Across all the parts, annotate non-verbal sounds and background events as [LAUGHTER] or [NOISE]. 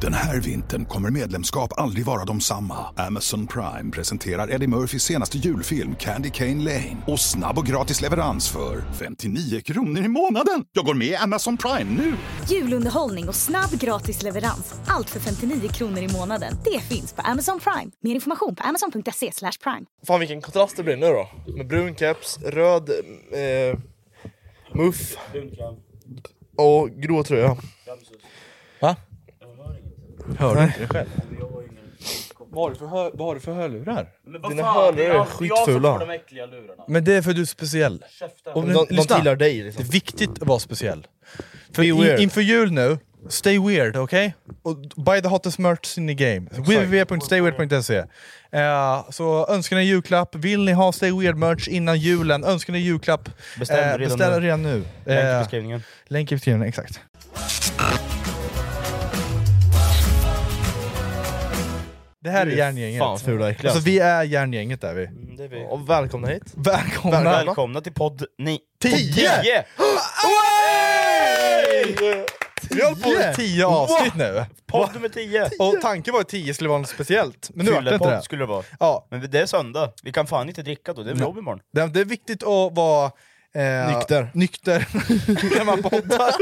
Den här vintern kommer medlemskap aldrig vara de samma. Amazon Prime presenterar Eddie Murphys senaste julfilm Candy Cane Lane. Och snabb och gratis leverans för 59 kronor i månaden. Jag går med i Amazon Prime nu! Julunderhållning och snabb gratis leverans. Allt för 59 kronor i månaden. Det finns på Amazon Prime. Mer information på amazon.se slash prime. Fan vilken kontrast det blir nu då. Med brun keps, röd eh, muff och grå tröja. Va? Hör du Nej. inte dig själv? Vad har du för, hör, vad har du för hörlurar? Men vad Dina fan, det är hörlurar är jag, det är jag som skitfula. får de äckliga lurarna. Men det är för att du är speciell. Käften. Och De- nu- de lyssna. tillhör dig, liksom. Det är viktigt att vara speciell. För Be weird. i, inför jul nu, stay weird, okej? Och buy the hottest merch in the game. www.stayweird.se E. Eh, Så önskar ni julklapp, vill ni ha stay weird merch innan julen, önskar ni julklapp, Beställ eh, redan beställ nu. redan nu. Länk i Eh, beskrivningen. Länk i beskrivningen, exakt. Det här är järngänget. Fan fula och äckliga. Alltså vi är järngänget där vi. Mm, Och välkomna hit. Välkomna! Välkomna till podd ni... Tio! Vi har hållit på med Tio! tio avsnitt nu. Podd nummer tio! Och tanken var att tio skulle vara något speciellt, men nu vart det inte det. Fyllepodd skulle det vara. Ja, Men det är söndag, vi kan fan inte dricka då, det är jobb imorgon. det det är viktigt att vara eh, Nykter. nykter när man [LAUGHS] poddar.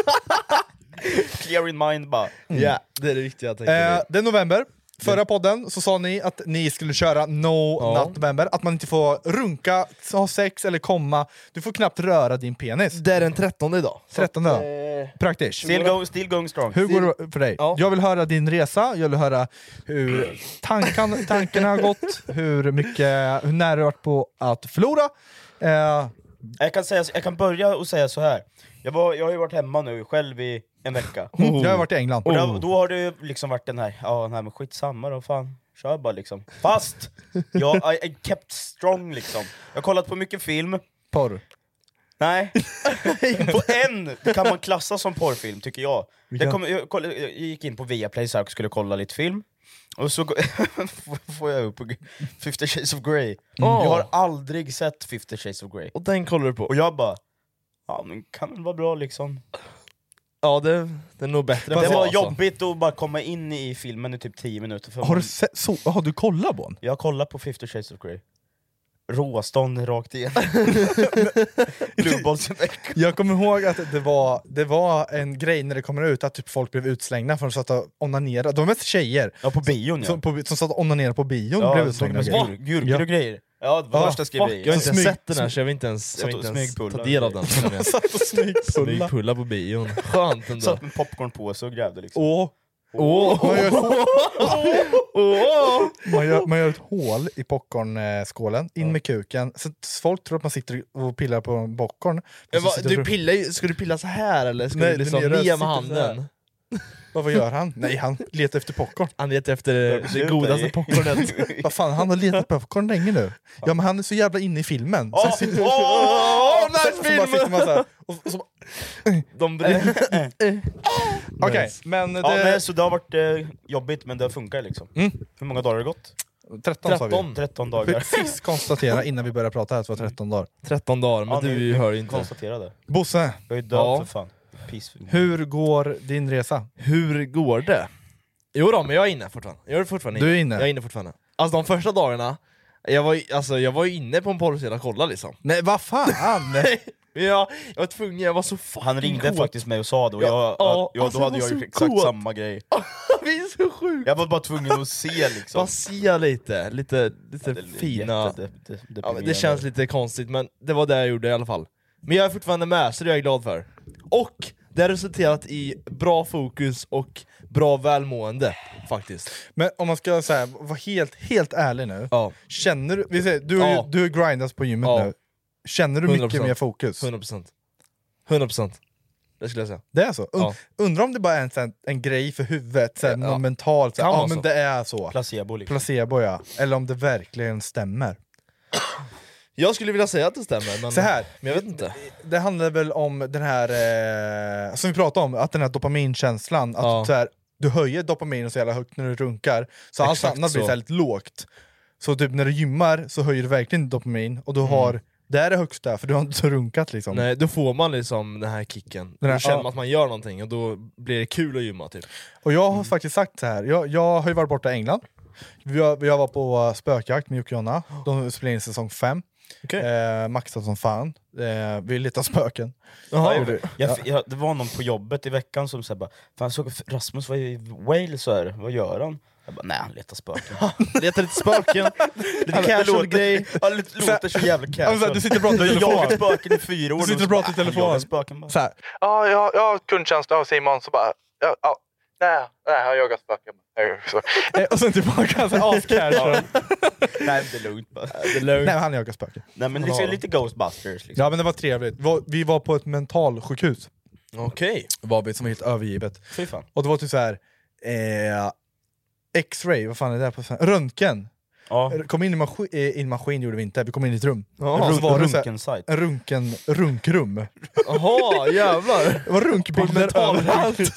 Clear in mind bara. Mm. Ja, det är det viktiga jag tänker. eh, det är november. Förra podden så sa ni att ni skulle köra No Ja. Not November, att man inte får runka, ha sex eller komma. Du får knappt röra din penis. Det är den 13 idag. 13 Så att, då. eh, Praktiskt. Still, go, still going strong. Hur går det för dig? Ja. Jag vill höra din resa, jag vill höra hur [LAUGHS] tankan, tankarna har gått, hur, mycket, hur nära du har varit på att förlora. Eh, Jag kan, säga, jag kan börja och säga så här. Jag, var, jag har ju varit hemma nu själv i en vecka. Oh. Jag har varit i England. Och då, då har det ju liksom varit den här, ja nej men skitsamma då fan, kör bara liksom. Fast! Jag I, I kept strong liksom. Jag har kollat på mycket film, Porr. [LAUGHS] nej. på en kan man klassa som porrfilm tycker jag. Det kom, jag, koll- jag gick in på Viaplay så här och skulle kolla lite film, och så gå- [LAUGHS] får jag upp på 50 shades of Grey. Jag har aldrig sett 50 shades of Grey. Och den kollar du på. Och jag bara, ja men kan väl vara bra liksom. Ja, det, det är nog bättre än Det så, var alltså. jobbigt att bara komma in i filmen i typ 10 minuter. För Har du, man- sett, så, har du kollat på den? Jag kollar på 50 shades of Grey. Råstånd rakt [LAUGHS] igenom. Bluebollseffekt. Jag kommer ihåg att det var, det var en grej när det kommer ut att typ folk blev utslängda för att de satt och onanerade. De var mest tjejer Ja, på bion ja. som, på, som satt och onanerade på bion. ja blev jag såg utslängda. och med gurk- grejer. gurkor Ja. och grejer. Ja, det var Ja, värsta fuck, Jag har skriveriet. inte Smyg- sett den här så jag vill inte ens, jag vill Satt inte och ens smygpullar. ta del av den. känner jag. [LAUGHS] Satt och smygpulla. Smygpulla på bion. Skönt Jag ändå. satt med popcornpåse och [LAUGHS] grävde liksom. Åh. Man, gör ett, hå- man, gör, man gör ett hål i popcornskålen, in med kuken, så att folk tror att man sitter och pillar på en popcorn. Men Så vad, sitter du och- pillar ju, ska du pilla så här eller ska Nej, du liksom den nere ner sitter med handen? så Vad vad gör han? Nej, han letar efter [LAUGHS] popcorn. Han letar efter det, det Sluta godaste ge- [LAUGHS] popcornet. Vad fan, han har letat popcorn länge nu. Ja men han är så jävla inne i filmen. Åh, Så- åh, åh, åh, Så- så bara sitter man så här, och- och så bara- [LAUGHS] De bryr Okej, men det... Ja, men, så det har varit eh, jobbigt men det funkar liksom. Mm. Hur många dagar har det gått? 13 sa vi. 13 Vi dagar. Sist konstatera innan vi började prata här att det var 13 dagar. 13 dagar, men [LAUGHS] Ja, du ni- hör ni ju inte. Konstaterade. Bosse, Jag är död Ja. för fan. Peace. hur går din resa? Hur går det? Jo då, men jag är inne fortfarande. Jag är fortfarande Du är inne? Jag är inne fortfarande. Alltså de första dagarna, jag var, ju- alltså, jag var ju inne på en porrsida och kollade liksom. Nej vad [LAUGHS] fan! Men jag, jag var tvungen, jag var så fucking Han ringde kåt. [LAUGHS] faktiskt mig och sa det och Ja, jag, ja, ja, ja, alltså, då hade jag var jag gjort så exakt kåt. samma grej. Vi är så sjukt! Jag var bara tvungen att se liksom. Bara se lite, lite, lite Det är fina... jättede- de- Ja, men deprimerande. det känns lite konstigt, men det var det jag gjorde i alla fall. Men jag är fortfarande med, så det är jag glad för. Och det har resulterat i bra fokus och bra välmående, faktiskt. Men om man ska säga, vara helt, helt ärlig nu. Ja, Känner du, vi säger, du, har ju- Ja. du har grindas på gymmet Ja. nu. Känner du mycket 100%. mer fokus? 100%. 100%. Det skulle jag säga. Det är så? Und, Ja. Undrar om det bara är en, sån- en grej för huvudet, såhär, Ja. något mentalt, såhär, Kan ja vara men så. det är så. placebo liksom. Placebo ja, eller om det verkligen stämmer. Jag skulle vilja säga att det stämmer, men, Så här. men jag vet inte. Det handlar väl om den här, eh, som vi pratade om, att den här dopaminkänslan, att Ja. så här, du höjer dopaminen så jävla högt när du runkar, så allt Exakt annat blir så. så här lite lågt. Så typ när du gymmar så höjer du verkligen dopamin och du har Det här är högsta, för du har inte runkat liksom. Mm. Nej, då får man liksom den här kicken. Den här- då känner ja. man att man gör någonting och då blir det kul att gymma typ. Och jag har faktiskt sagt så här. Jag, jag har ju varit borta i England. Jag, jag var på eh, spökjakt med Jocke och Jonna. De spelade in säsong 5. Okej. Eh, maxade som fan. Eh, vi letar spöken. Jaha. Ja, gjorde vi. Jag, jag, det var någon på jobbet i veckan som sa bara Fan såg Rasmus var ju i Wales så här. vad gör han? Jag bara, nej han letar spöken. Letar lite [LAUGHS] spöken, lite casual grej. Ja, det låter så jävla Ja, men så här, casual. du sitter och pratar i Jag har jagat telefon. spöken i fyra år. Du sitter och pratar i telefon. Jag jagar spöken bara. Så här. Ja, jag, jag har kundtjänst av Simon. Så bara... Ja, ja. Nej, nej, jag har jagat spöken. Eh, och sen tillbaka. [LAUGHS] så här, Ascasual. [LAUGHS] Nej men det är lugnt bara. Det är lugnt. Nej, han jagar spöken. Nej men liksom, lite Ghostbusters liksom. Ja, men det var trevligt. Vi var- Vi var på ett mentalsjukhus. Okej, Var vi, som var helt övergivet. Fy fan. Och det var typ så här... Eh, X-ray, vad fan är det här på svenska? Röntgen. Ja. Kom in i maskin, eh, i en maskin gjorde vi inte, vi kom in i ett rum. Ja, Och så var det så här- Röntgensajt. en runken, runkrum. jaha jävlar. [LAUGHS] Det var runkbilder överallt. Mentalsjukhus.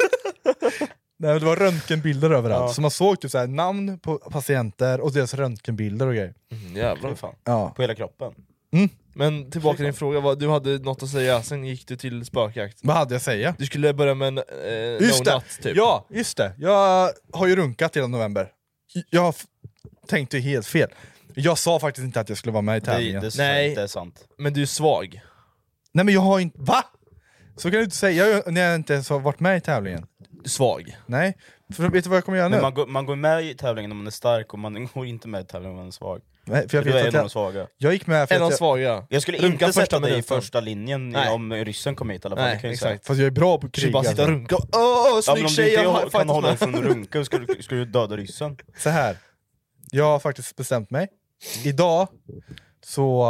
Nej, men det var röntgenbilder överallt. Ja. Så man såg typ så här, namn på patienter och deras röntgenbilder och grejer. Mm, [LAUGHS] Fy jävlar. fan. Ja. På hela kroppen. Men tillbaka till din fråga, vad- du hade något att säga, sen gick du till spökjakt. Vad hade jag att säga? Du skulle börja med en eh, Just no det. nut typ. Ja, just det. Jag har ju runkat hela november. Jag har f- tänkte ju helt fel. Jag sa faktiskt inte att jag skulle vara med i Det, det, tävlingen. är- Nej. det är sant. Men du är svag. Nej men jag har inte... Va? Så kan du inte säga jag, när jag inte ens har varit med i tävlingen. Du är svag. Nej. För vet du vad jag kommer göra nu? Men man, går, man går med i tävlingen om man är stark och man [LAUGHS] går inte med i tävlingen om man är svag. Nej, för jag, Du är vet en att av de jag, svaga. jag gick med för En av att de jag, svaga. Jag skulle Runka inte första sätta dig i minuten. första linjen Nej. om ryssen kom hit i alla fall. det Nej, kan jag ju säga. exakt. fast jag är bra på Du skulle krig. bara sitta och alltså. runka och åh, Ja, men snygg om du tjej! inte jag jag har kan fightat hålla dig med." från att runka, hur ska du, ska du [LAUGHS] döda ryssen? Så här. Jag har faktiskt bestämt mig. Idag så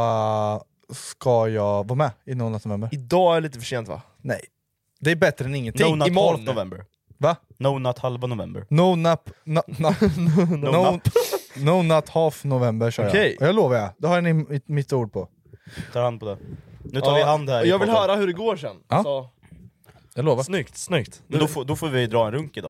uh, ska jag vara med i någon av november. Idag är lite för sent va? Nej. Det är bättre än No ingenting. nut imorgon. half november. Va? No nut halva november. No nap... Na, [LAUGHS] na, no, no, nap. no nut half november kör Okej. jag. Och jag lovar jag. Det har ni mitt, mitt ord på. Tar hand på det. Nu tar vi Ja, hand här. och i Jag vill podden. höra hur det går sen. Ja. Så, Jag lovar. snyggt, snyggt. Men Då får, då får vi dra en runk idag.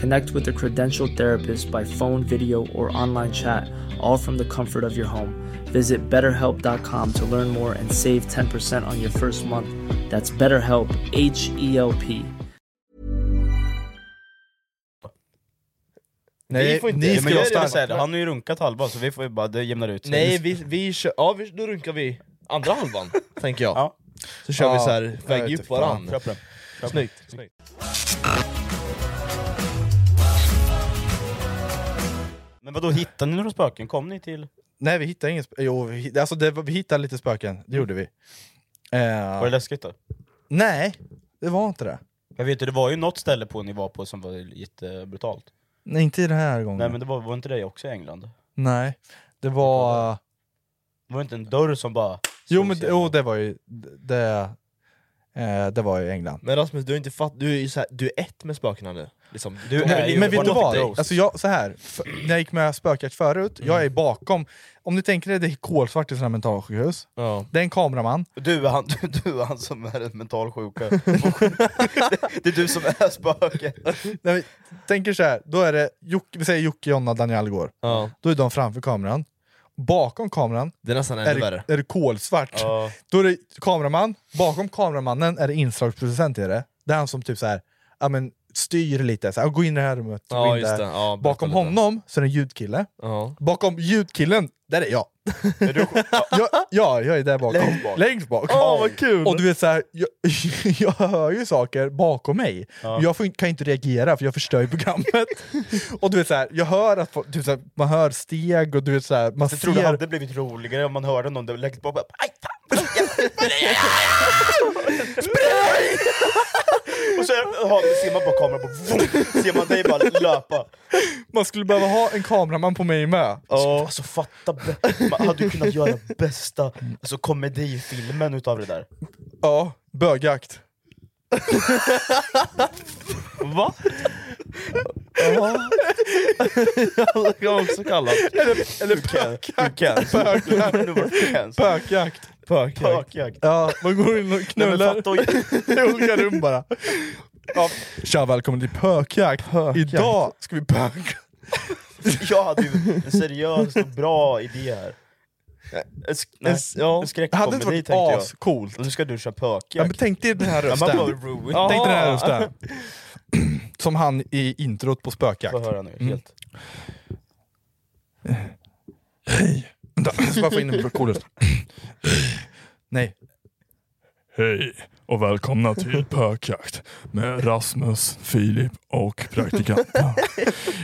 Connect with a credentialed therapist by phone, video, or online chat, all from the comfort of your home. Visit betterhelp.com to learn more and save 10% on your first month. That's BetterHelp, H E L P. Nej, Vi får inte- ni Ja, ska Men vara jag skulle starka. säga det, han har ju runkat halva så vi får ju bara, det jämnar ut sig. Nej, vi, vi kör, ja, vi, då runkar vi andra [LAUGHS] halvan, tänker jag. Ja. Så kör vi Ja, så jag här, vet väg inte upp fan. varandra. Köp den. Snyggt. snyggt. Men vadå, hittade ni några spöken? Kom ni till... Nej vi hittade inget... sp- Jo, vi, hitt- alltså det, var- vi hittade lite spöken, det gjorde vi. Eh, Var det läskigt då? nej, det var inte det. Jag vet ju, det var ju något ställe på ni var på som var jättebrutalt. Nej, inte den här gången. Nej men det var, var inte det också i England? Nej, det var... Det var inte en dörr som bara... Jo slogs men igen? jo, det var ju... Det, Eh, det var i England. Men Rasmus, du är inte [LAUGHS] fatt... Du är ju så här, du är ett med spökena nu. Liksom. Du Nej, är ju men vet du borta. vad? Alltså jag, så här, f- när jag gick med spökjakt förut, jag är Mm. bakom. Om ni tänker er, det är kolsvart i sådana här mentalsjukhus. Ja. Det är en kameraman. Du är han, [LAUGHS] du, du är han som är en mental sjuka. [LAUGHS] det är du som är spöket. När vi tänker så här, då är det Jocke, vi säger Jocke, Jonna, Daniel går. Ja. Då är de framför kameran. Bakom kameran Det är nästan är ännu det, värre. är det kolsvart. Då är det kameraman, bakom kameramannen är det inslagsproducent. Är det. det är han som typ så här, ja, men styr lite, så här, gå in i det här rummet, gå Ja, in just där. det. Ja, berätta Bakom lite. honom så är det en ljudkille. Ja. Bakom ljudkillen, där [LAUGHS] är jag. Är du, jag [LAUGHS] ja, jag är där bakom. Längst bak. Längst bak. Åh, vad kul! Och du vet så här, jag, [LAUGHS] jag hör ju saker bakom mig. Jag får, inte- kan inte reagera för jag förstör [LAUGHS] ju programmet. och du vet så här, jag hör att folk- typ så här, man hör steg och du vet så här, man jag ser... tror det hade blivit roligare om man hörde någon där lägga på bara aj, fan, aj, [LAUGHS] Spring! Och så har, ser man bara kameran, bara, vroom, ser man dig bara löpa. Man skulle behöva ha en kameraman på mig med. Oh. Alltså fatta, bä- man hade ju kunnat göra bästa alltså, komedifilmen utav det där. Ja, bögjakt. Va? Jaha. jag har också kallat. Eller, eller pökjakt. Pökjakt. Bögjakt. Pökjakt. Ja, man går in och [LAUGHS] Nej, men knullar fatta och- [LAUGHS] i olika rum bara. Ja. Tja, välkommen till pökjakt. Idag ska vi pöka. Jag hade ju en seriös och bra idé här. En, sk- nej, En s- ja. en Det hade inte skräckkomedi varit tänkte jag. ascoolt. Nu ska du köra Ja, men pökjakt. tänk dig den här Ja, man bara rösten. ruined. Ja. Tänk dig den här Ah. rösten. [CLEARS THROAT] Som han i introt på Få spökjakt. höra nu, Mm. helt. [LAUGHS] Vänta, jag ska bara få in en cool röst. Nej. Hej och välkomna till Pökjakt med Rasmus, Filip och praktikanten.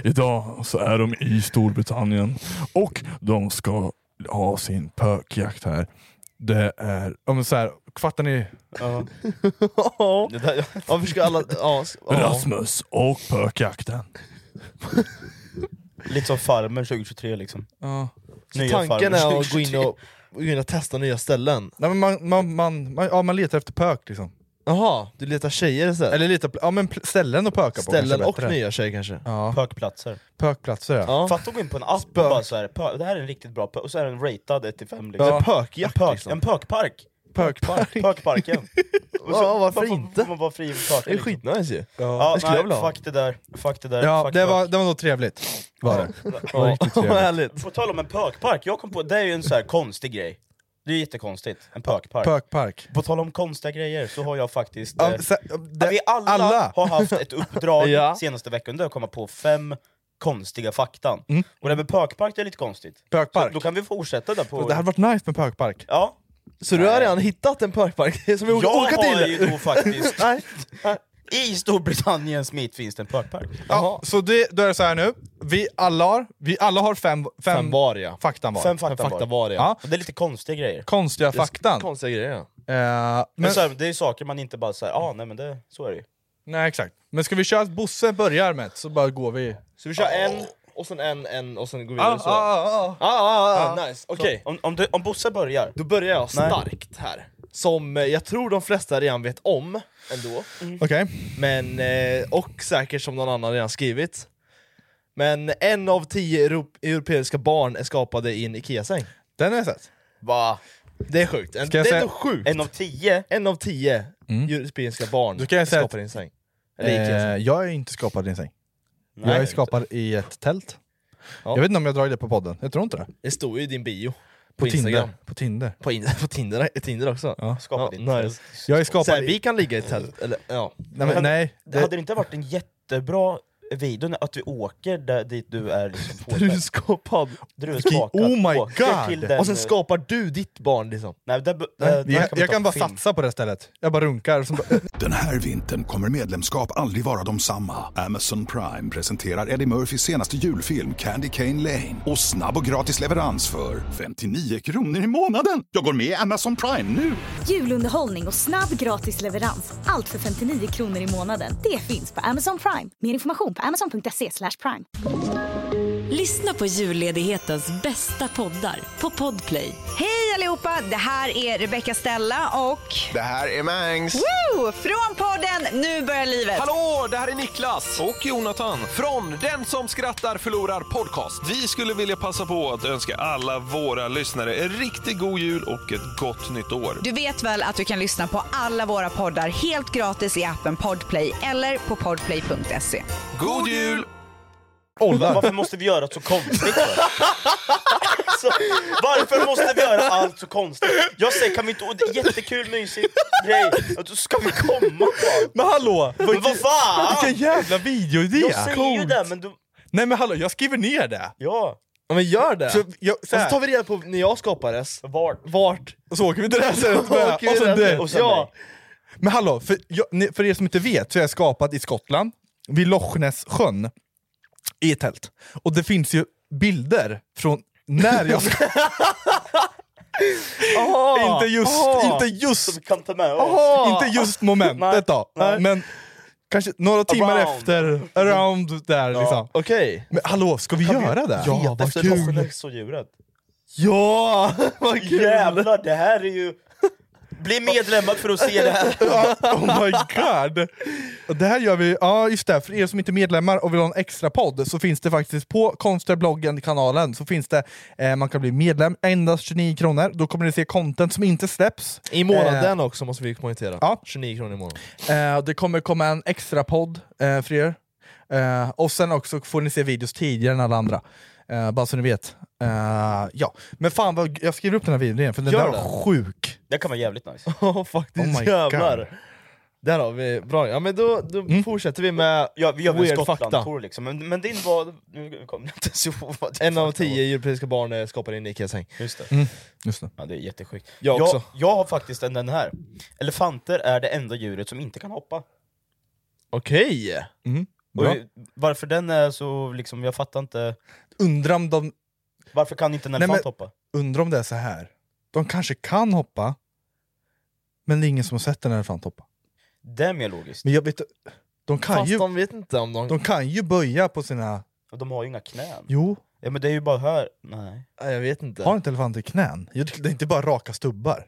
Idag så är de i Storbritannien och de ska ha sin pökjakt här. Det är, ja men så här, fattar ni? Ja. Ja. Det där, Varför ska alla... Ja, s- ja. Rasmus och pökjakten. lite som Farmen 2023 liksom. Nya Tanken Farmen är att [LAUGHS] gå in 2023. och, gå in och testa nya ställen. Nej, men man, man, man, man, ja, man letar efter pök liksom. Jaha, du letar tjejer istället? Eller lite, ja, men pl- ställen att pöka på ställen kanske och bättre. nya tjejer kanske? Ja, Pökplatser. pökplatser ja. Ja. Fatta att gå in på en app och bara så här, pö, det här är en riktigt bra pö, och så är den ratad 1 till 5 liksom. Ja. En pö- Pökjakt pök, liksom. En pökpark! Pökpark. Pökparken! Och [LAUGHS] Ja, varför man får, inte? Man var fri i Det är pöken. liksom. skitnice ju. Ja, Det skulle jag vilja nej, ha. fuck det där. Fuck det där. Ja, fuck det pök. var, det var nog trevligt. Var det. Ja, [LAUGHS] riktigt vad trevligt. härligt. På tal om en pökpark, jag kom på, det är ju en så här konstig grej. Det är jättekonstigt, en pökpark. Pökpark. På tal om konstiga grejer så har jag faktiskt... eh, Ja, se- det- vi alla, alla. har haft ett [LAUGHS] uppdrag Ja. senaste veckan där att komma på fem konstiga faktan. Mm. Och det här med pökpark det är lite konstigt. Pökpark. Så då kan vi fortsätta där på... Det hade varit nice med pökpark. Ja. Så du har redan hittat en pökpark [LAUGHS] som vi åker Jag åka har till? ju [LAUGHS] då faktiskt... Nej. I Storbritanniens mitt finns det en pökpark. Ja, så det, då är det så här nu, vi alla har, vi alla har fem, fem, Fem var ja. faktan var. Fem Fem fakta, fakta var. var ja. Ja, Och det är lite konstiga grejer. konstiga faktan. Konstiga grejer ja. Eh, Men, men, så här, det är saker man inte bara säger, ah, nej men det, så är det ju. nej, exakt. Men ska vi köra att Bosse börjar med ett, så bara går vi... Så vi kör en, och sen en, en, och sen går vi vidare Ah, så. Ah, ah, ah. ah, ah, nice, okej. Om, om, du, om Bosse börjar, Då börjar jag starkt här. Som eh, jag tror de flesta redan vet om, ändå. Okej. Men, eh, och säkert som någon annan redan skrivit. Men en av tio euro- europeiska barn är skapade i en IKEA-säng. Den har jag sett. Va? Det är sjukt. En, Ska det jag är säga- Mm. nog sjukt. en av tio, En av tio europeiska barn Då kan jag säga skapar i en säng. Eller i Eh, IKEA-säng. jag är inte skapad i en säng. Nej. jag är skapad i ett tält. Ja. Jag vet inte om jag drar det på podden, jag tror inte det. På, Det står ju i din bio. På, Instagram. Tinder. På Tinder. På, in, [LAUGHS] på Tinder, Tinder också. skapade Ja, inte det. nice. Jag är skapad Så här, i... vi kan ligga i ett tält, eller ja. Nej, men, nej det, Hade det inte varit en jättebra video när- att vi åker där, dit du är liksom på- [LAUGHS] Du är skapad. där du är skakad, Oh my åker God! Till den, Och sen skapar du ditt barn liksom. nej, där, där, nej, där vi- jag, vi ta kan bara film. satsa på det stället. Jag bara runkar. Som, Den här vintern kommer medlemskap aldrig vara de samma. Amazon Prime presenterar Eddie Murphys senaste julfilm Candy Cane Lane. Och snabb och gratis leverans för 59 kronor i månaden. Jag går med i Amazon Prime nu! Julunderhållning och snabb gratis leverans. Allt för 59 kronor i månaden. Det finns på Amazon Prime. Mer information på amazon.se slash prime. Lyssna på julledighetens bästa poddar på Podplay. Hej allihopa! Det här är Rebecca Stella och Det här är Mangs. Woo! från podden Nu börjar livet. Hallå, det här är Niklas och Jonathan från Den som skrattar förlorar podcast. Vi skulle vilja passa på att önska alla våra lyssnare en riktigt god jul och ett gott nytt år. Du vet väl att du kan lyssna på alla våra poddar helt gratis i appen Podplay eller på podplay.se. God jul! Varför måste vi göra det så konstigt för? alltså, varför måste vi göra allt så konstigt? Jag säger kan vi inte, och det är jättekul, mysigt grej, Att då ska vi komma på? Men hallå! Men vad fan! Vilken jävla videoidé! Jag säger ju det men du, Nej men hallå, jag skriver ner det! ja, Ja, men gör det! Så, jag, så, och så här, tar vi reda på när jag skapades, vart? vart, och så åker vi till det här [LAUGHS] stället med, åker vi och så reda på- det. och sen ja. Men hallå, för, jag, ni- för er som inte vet så är jag skapad i Skottland, vid Loch Ness sjön i ett tält. Och det finns ju bilder från när jag [LAUGHS] inte just, inte just, vi kan ta med oss. inte just momentet då, Nej. men kanske några timmar Around. efter, around där liksom. Okej, Men hallå, ska vi göra det? Ja, vad Efter kul. Loch och djuret. [LAUGHS] Ja, vad kul! Jävlar, det här är ju... Bli medlemmar för att se det här. [LAUGHS] Oh my god! Och Det här gör vi, ja just det, för er som inte är medlemmar och vill ha en extra podd så finns det faktiskt på Konstbloggen-kanalen så finns det, eh, man kan bli medlem, endast 29 kronor, då kommer ni se content som inte släpps. i månaden också måste vi poängtera, Ja. 29 kronor i [LAUGHS] månaden Eh, det kommer komma en extra podd eh, för er, eh, och sen också får ni se videos tidigare än alla andra. Eh, bara så ni vet. Eh, ja. Men fan, vad, jag skriver upp den här videon igen, för den Gör där var sjuk. Det kan vara jävligt nice. Ja faktiskt, Oh my jävlar! Mm. God. Där har vi, bra, ja men då, då fortsätter vi med Ja, vi gör väl en weird fakta Skottland-tour liksom, men, men din var... Nu kommer jag inte ens ihåg vad din En av fakta var. tio europeiska barn eh, skapar en Ikea-säng Just det. Just det. Ja, det är jättesjukt. Jag också. Jag, jag har faktiskt en den här. Elefanter är det enda djuret som inte kan hoppa. Okej! Och Bra. varför den är så, liksom, jag fattar inte. Undrar om de Varför kan inte en Nej, elefant men- hoppa? Undrar om det är så här. De kanske kan hoppa, men det är ingen som har sett en elefant hoppa. Det är mer logiskt. Men jag vet de kan, Fast ju, de vet inte om de... de kan ju böja på sina... Och de har ju inga knän. Jo, Ja men det är ju bara här. Nej. Nej, Jag vet inte har inte elefanter knän? Jo, Det det är inte bara [LAUGHS] raka stubbar.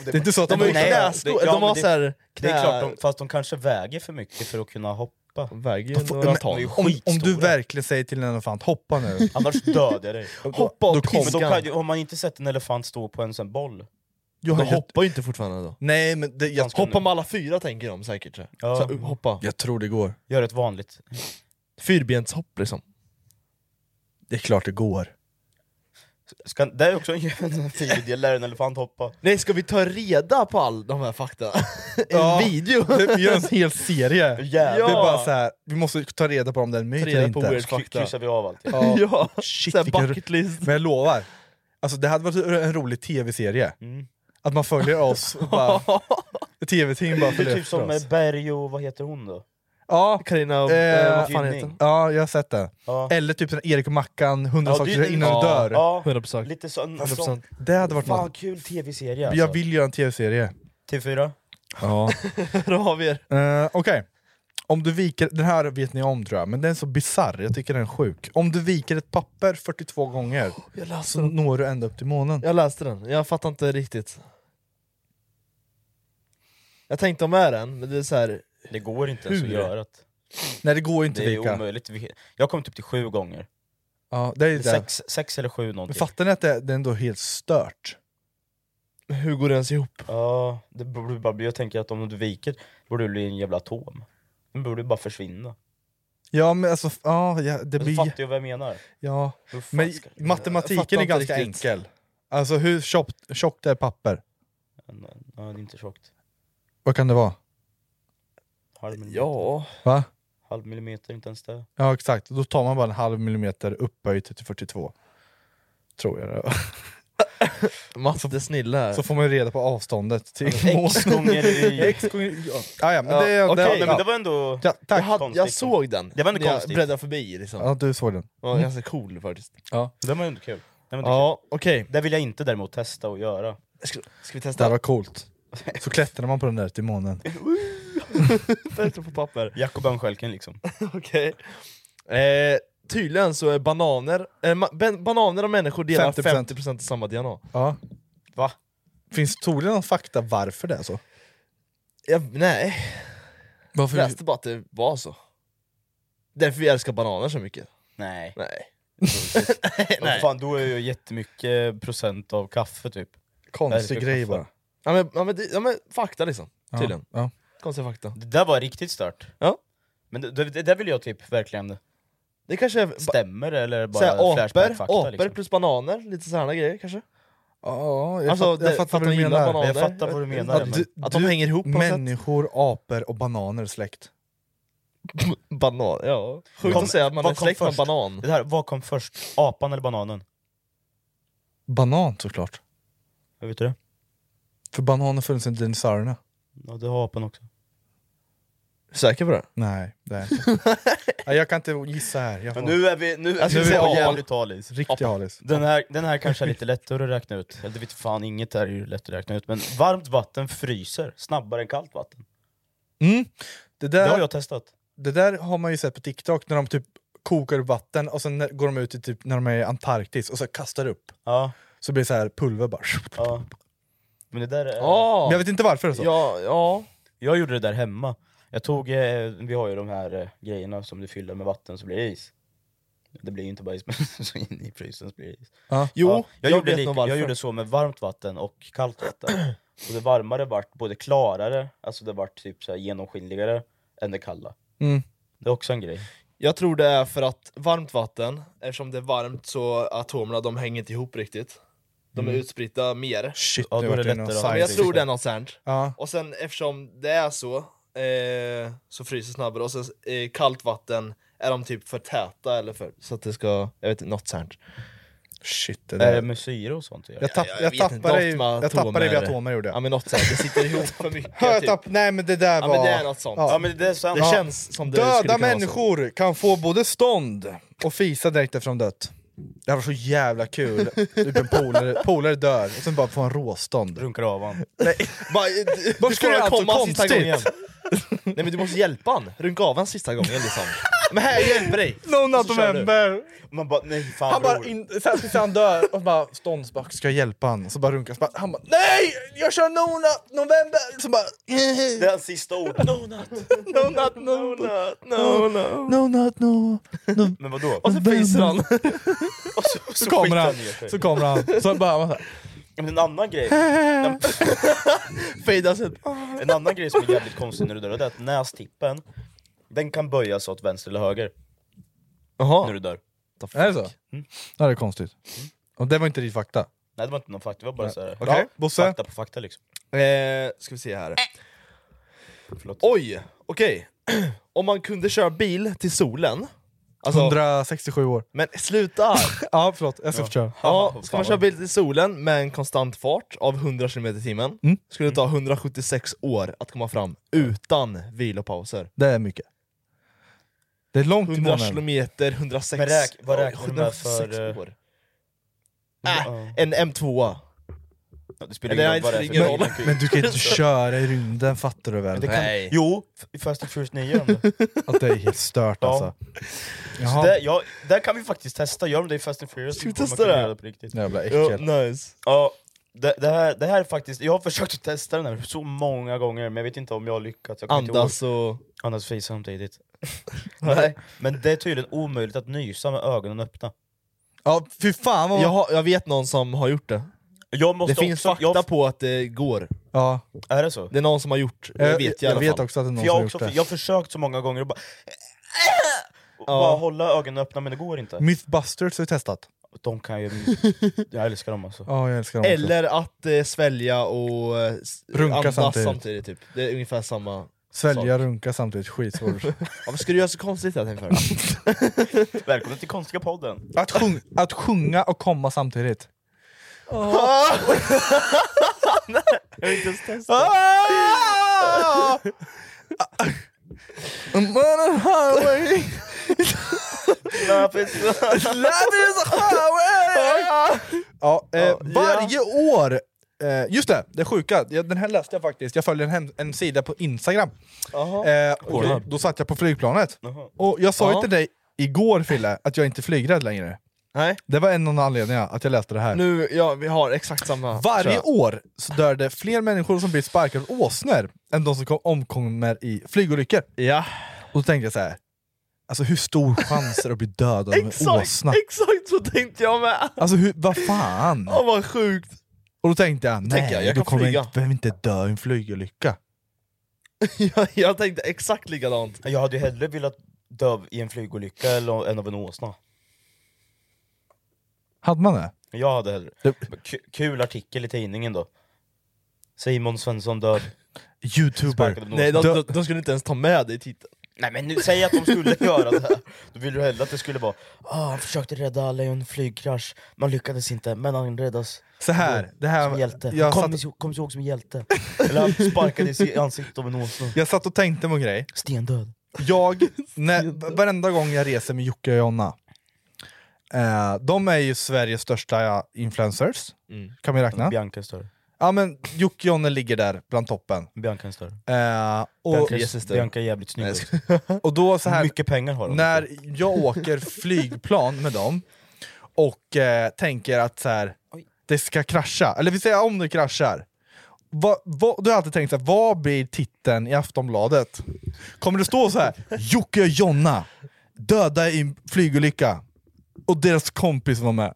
det är inte så att de... De har ju Nej, knäskor, det- ja, de har men det- såhär Det knä... är klart, de, fast de kanske väger för mycket för att kunna hoppa. de väger ju De får- några men- ton Om, om du verkligen säger till en elefant [LAUGHS] hoppa nu, Annars dödar jag dig. Hoppa då och kommer- Men då kan, piskan! ju- har man inte sett en elefant stå på en sån boll? jag, De har ju- hoppar ju inte fortfarande då Nej men det, jag, Ganska- Hoppa med alla fyra tänker de säkert Ja. så, här, hoppa jag tror det går. Gör ett vanligt. Fyrbenshopp liksom Det är klart det går. Ska, det är också en [LAUGHS] en fin idé, lär en elefant hoppa. Nej ska vi ta reda på all de här fakta? [LAUGHS] en Ja. video? Det- Vi gör [LAUGHS] en hel serie. Jävlar. Det är bara så här, vi måste ta reda på om den är en myt Ta reda eller på inte. weird Kry- fakta Kryssar vi av allt. Ja, [LAUGHS] Shit, såhär vilken- bucket list Men jag lovar, alltså det hade varit en rolig tv-serie. Mm. Att man följer oss och bara... [LAUGHS] Tv-team bara Det är följer typ efter som oss. eh, Berg och vad heter hon då? Ja, Carina, Eh, eh, vad fan heter Gynning. hon? ja, jag har sett det. Ja. Eller typ sån här Erik och Mackan, 100 Ja, saker det- innan du dör. Ja, alltså. 100%. lite sån... typ 100%. Det hade varit Fan något. kul tv-serie Jag alltså. vill göra en tv-serie. TV4? Ja. Då har vi er. Eh, Okej. Om du viker, den här vet ni om tror jag, men den är så bizarr, jag tycker den är sjuk. Om du viker ett papper 42 gånger Oh, Jag läste så den. når du ända upp till månen. Jag läste den, jag fattar inte riktigt. Jag tänkte om med den, men det är så här. Det går inte ens att Hur? göra det. Nej det går ju inte Det är vika. omöjligt. Vi- Jag kom typ till sju gånger. ja, det är ju det. Sex, sex eller sju Men någonting. fattar ni att det, det är ändå helt stört? Hur går det ens ihop? Ja, det borde bara bli, jag tänker att om du viker, borde du bli en jävla atom. Den borde bara försvinna. Ja men alltså, f- ja, ja, det Men blir... fattar jag vad jag menar? Ja. Hur fan Men ska- Jag fattar matematiken är inte ganska riktigt. enkel. Alltså hur tjockt, tjockt är papper? Ja, det är inte tjockt. Vad kan det vara? Halv millimeter. Ja, Va? Halv millimeter, inte ens det. Ja exakt, då tar man bara en halv millimeter upphöjt till 42. Tror jag det var. matte snille här. Så får man ju reda på avståndet till Alltså, X gånger i... [LAUGHS] X gånger... Ja, ah, ja men Ja, det... det, okej, Ja, ja. nej, men det var ändå... ja, jag, tack! hade, jag Konstigt. såg den, Det var ändå när jag konstigt. bläddrade förbi liksom. Ja, du såg den. Det var ganska cool faktiskt. Det var ändå kul. Det, var ändå Ja, okej. kul. det vill jag inte däremot testa och göra. Ska, ska vi Det här testa? var coolt. Så klättrar man på den där till månen. Bättre på papper. [LAUGHS] Jakob Örnskölken liksom. Okej. Eh, tydligen så är bananer, eh, ma- ben- bananer och människor delar 50%. 50%, av samma DNA. Ja. Va? Finns troligen någon fakta varför det är så? Ja, nej, Varför? jag läste bara att det var så. Därför vi älskar bananer så mycket. Nej. Nej. [LAUGHS] Nej. Fan, då är ju jättemycket procent av kaffe typ. Konstig grej bara. Ja men, ja, men, det- ja, men fakta liksom, Ja, tydligen. Ja. Konstiga fakta. Det där var riktigt stört. Ja. Men det, det, det där vill jag typ verkligen... Det kanske är ba- Stämmer det eller bara såhär, apor, flashback-fakta? apor liksom? plus bananer, lite sådana grejer kanske. Ja, jag, Alltså, fatt, jag det- fattar att vad du de gillar menar. bananer. Jag fattar vad du menar. Ja, men- du- Att de hänger ihop på något sätt. Människor, apor och bananer är släkt. Banan, ja. Sjukt Kom- att säga att man vad är kom släkt med först? banan. Det här, vad kom först? Apan eller bananen? Banan såklart. Hur vet du det? För bananer funnits sedan dinosaurierna. Ja, det har apan också. Säker på det? Nej, det är inte. [LAUGHS] ja, Jag kan inte gissa här. Jag får Men nu är vi... Nu, Jag skulle Alltså, nu säga är vi apan. jävligt halis. riktig halis. Den här, den här kanske är lite lättare att räkna ut. Eller det vet fan, inget är ju lätt att räkna ut. Men varmt vatten fryser snabbare än kallt vatten. Mm. Det, Det Äh. har där, jag testat. det där har man ju sett på TikTok när de typ kokar upp vatten och sen när- går de ut i typ när de är i Antarktis och så kastar det upp. Ja, Så blir det så här pulver bara. ja. Men det där är... Ja. Men jag vet inte varför det är så. Ja, ja. Jag gjorde det där hemma. Jag tog, eh, vi har ju de här eh, grejerna som du fyller med vatten så blir det is. Det blir ju inte bara is, [LAUGHS] men så in i frysen så blir det is. Ja. Jo, Ja, jag, jag gjorde vet lik- nog varför. jag gjorde så med varmt vatten och kallt vatten. [CLEARS THROAT] Och det varmare vart både klarare, alltså det vart typ så här genomskinligare än det kalla. Mm. Det är också en grej. Jag tror det är för att varmt vatten, eftersom det är varmt så atomerna de hänger inte ihop riktigt. De är utspridda mer. Shit, Ja, nu då är vart det det någon lättare att ha Men jag science tror det är fiction. något sånt. Ja. Och sen eftersom det är så, eh, så fryser snabbare. Och sen eh, kallt vatten, är de typ för täta eller för... Så att det ska... Jag vet inte, något sånt. Shit, det Är det där. med syre och sånt? att göra? Jag, tapp, Eh, Ehm, jag jag, vet inte. tappade, i- Något med jag tappade i vid atomer. atomer gjorde Ja jag. men något sånt, det sitter ihop för [LAUGHS] mycket. Typ. Hötapp, nej men det där Ja var... men det är något sånt. Ja men det är sant. Det Ja. känns som det skulle kunna Döda vara så. människor kan få både stånd och fisa direkt efter de dött. Det här var så jävla kul. Typ en polare, polare dör och sen bara får en råstånd. Runkar av han. [LAUGHS] Bara, eh, du- Varför du ska får du typ? han allt så komma sista konstigt? gången. [LAUGHS] Nej men du måste hjälpa han, runka av han sista gången liksom. Men här, jag hjälper dig! Någon av Så kör du. november! Man bara nej fan Han bara, bror. in, så här, tills han dör, och bara stånd, så bara, ska jag hjälpa han? Och så bara runkar så bara, han bara NEJ! Jag kör Nona, november! Så bara, Det är hans sista [LAUGHS] ord. No, not. no not no, No, no. no not no. Men vadå? Och så fiser [LAUGHS] han. Och så, och så, Så kommer skitar han, ner sig. så kommer han. Så bara, man så här, Men en [LAUGHS] annan grej. [LAUGHS] Fejdas ut. Ah. En annan grej som är jävligt konstig när du dör det är att nästippen, den kan böjas åt vänster eller höger när Jaha. du dör. är det så? Ja, det är konstigt. Och det var inte riktigt fakta. Nej det var inte någon fakta, det var bara såhär, Ja, Bosse? fakta på fakta liksom. Eh, ska vi se här. Förlåt. Oj, okej. [CLEARS THROAT] Om man kunde köra bil till solen. Alltså, 167 år. men sluta! [LAUGHS] Ja, förlåt. Jag ska få köra. Ja, ska man köra bil till solen med en konstant fart av 100 km i timmen Mm. skulle det ta 176 år att komma fram utan vilopauser. Det är mycket. Det är långt till 100 månen. km, 106... Men räk- vad räknar du med för, 106 år. Ja. Äh, en M2. Ja, Det spelar Eller ingen nej, roll vad det det är för spelar bil. ingen roll. Men du kan inte köra i rymden, fattar du väl? Det kan, Nej. Jo, f- i Fast and Furious 9 om det. Att det är helt stört Ja. alltså. Så Jaha. där, ja, där kan vi faktiskt testa, gör de det i Fast and Furious Ska vi borde man testa kunna det? göra på riktigt. Jävla Ja, äckel. nice. Ja, det, det, här, det här är faktiskt, jag har försökt att testa den här så många gånger men jag vet inte om jag har lyckats. Jag kommer inte ihåg. Andas och... Andas och fisa samtidigt. Nej. Men det är tydligen omöjligt att nysa med ögonen öppna. Ja, fy fan vad... Jag, har, jag vet någon som har gjort det. Jag måste Det finns också, fakta jag, på att det går. Ja. Är det så? Det är någon som har gjort det, vet jag, Eh, jag i alla vet fall. också att det är någon som För jag, har har gjort också, det. jag har försökt så många gånger och bara... Och bara hålla ögonen öppna men det går inte. Mythbusters har vi testat. De kan ju... Jag älskar [LAUGHS] dem alltså. Ja, jag älskar dem också. Eller att eh, svälja och eh, s- Runka andas samtidigt. samtidigt. typ. Det är ungefär samma. Svälja, runka [LAUGHS] samtidigt. Skitsvårt. Varför ska du göra så konstigt jag tänkte [LAUGHS] för? Välkomna till konstiga podden. Att, sjung, att sjunga och komma samtidigt. Jag vill inte ens testa. Ah! I'm on a highway, life is a Ah, highway ja, eh, Varje år, eh, just det, det är sjuka, Ja, den här läste jag faktiskt, jag följer en, hem, en sida på Instagram eh, och då, då satt jag på flygplanet, och jag sa ju till dig igår Fille, att jag inte är flygrädd längre. Nej. Det var en av anledningarna att jag läste det här. Nu, ja, vi har exakt samma. tror Varje jag. år så dör det fler människor som blir sparkade av åsnor än de som kom- omkommer i flygolyckor. Ja. Och då tänkte jag så här. Alltså hur stor chans är det att bli dödad av [LAUGHS] en Exakt, åsna? exakt så tänkte jag med! Alltså hur, vad fan? Åh vad sjukt! Och då tänkte jag, nej, tänker jag, jag då kan kommer flyga. jag inte, behöver inte dö i en flygolycka. Jag, [LAUGHS] jag tänkte exakt likadant. Jag hade ju hellre velat dö i en flygolycka eller- än av en åsna. Hade man det? Jag hade hellre. Det- K- kul artikel i tidningen då. Simon Svensson dör. Youtuber. Sparkade en åsna. Nej, de, Dö- de, de skulle inte ens ta med dig i titeln. Nej men nu, säg att de skulle göra det här, då vill du hellre att det skulle vara ah, Han försökte rädda alla i en flygkrasch, man lyckades inte, men han räddas Så här, det här som hjälte jag, kom, satt, ihåg, kom ihåg som hjälte Eller han sparkades i [LAUGHS] ansiktet av en åsna, jag satt och tänkte på en grej. stendöd Jag, när, varenda gång jag reser med Jocke och Jonna, eh, de är ju Sveriges största influencers, kan vi räkna. Bianca är större, Ja men Jocke och Jonna ligger där bland toppen. Bianca är större Eh, och, Bianca är, Bianca är jävligt snygg också. och då så här, Mycket pengar har hon när jag åker flygplan med dem och eh, tänker att så här, det ska krascha, eller vi säger om det kraschar. Vad- vad- då har jag alltid tänkt, så här, vad blir titeln i Aftonbladet? Kommer det stå så här, Jocke och Jonna döda i en flygolycka och deras kompis var med?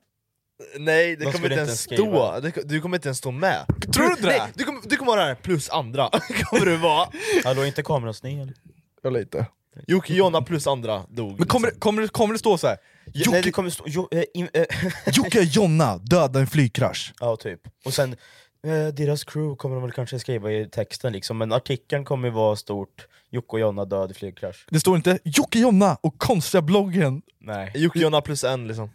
Nej, det De kommer skulle inte ens inte ens stå. Det, du kommer inte ens stå med. Tror du inte det? Nej, du, kommer, du kommer vara där plus andra. [LAUGHS] kommer du vara. Hallå, inte kamerasned? Jag lite. Jocke, Jonna plus andra dog. liksom. Men kommer, det- kommer, det- kommer det stå så här, Nej Jocke, det kommer stå... Jo, eh, in, eh, Jocke och Jonna döda i en flygkrasch? ja typ, och sen eh, deras crew kommer de väl kanske skriva i texten liksom, men artikeln kommer ju vara stort Jocke och Jonna död i flygkrasch Det står inte Jocke och Jonna och konstiga bloggen. Nej Jocke, Jonna plus en liksom.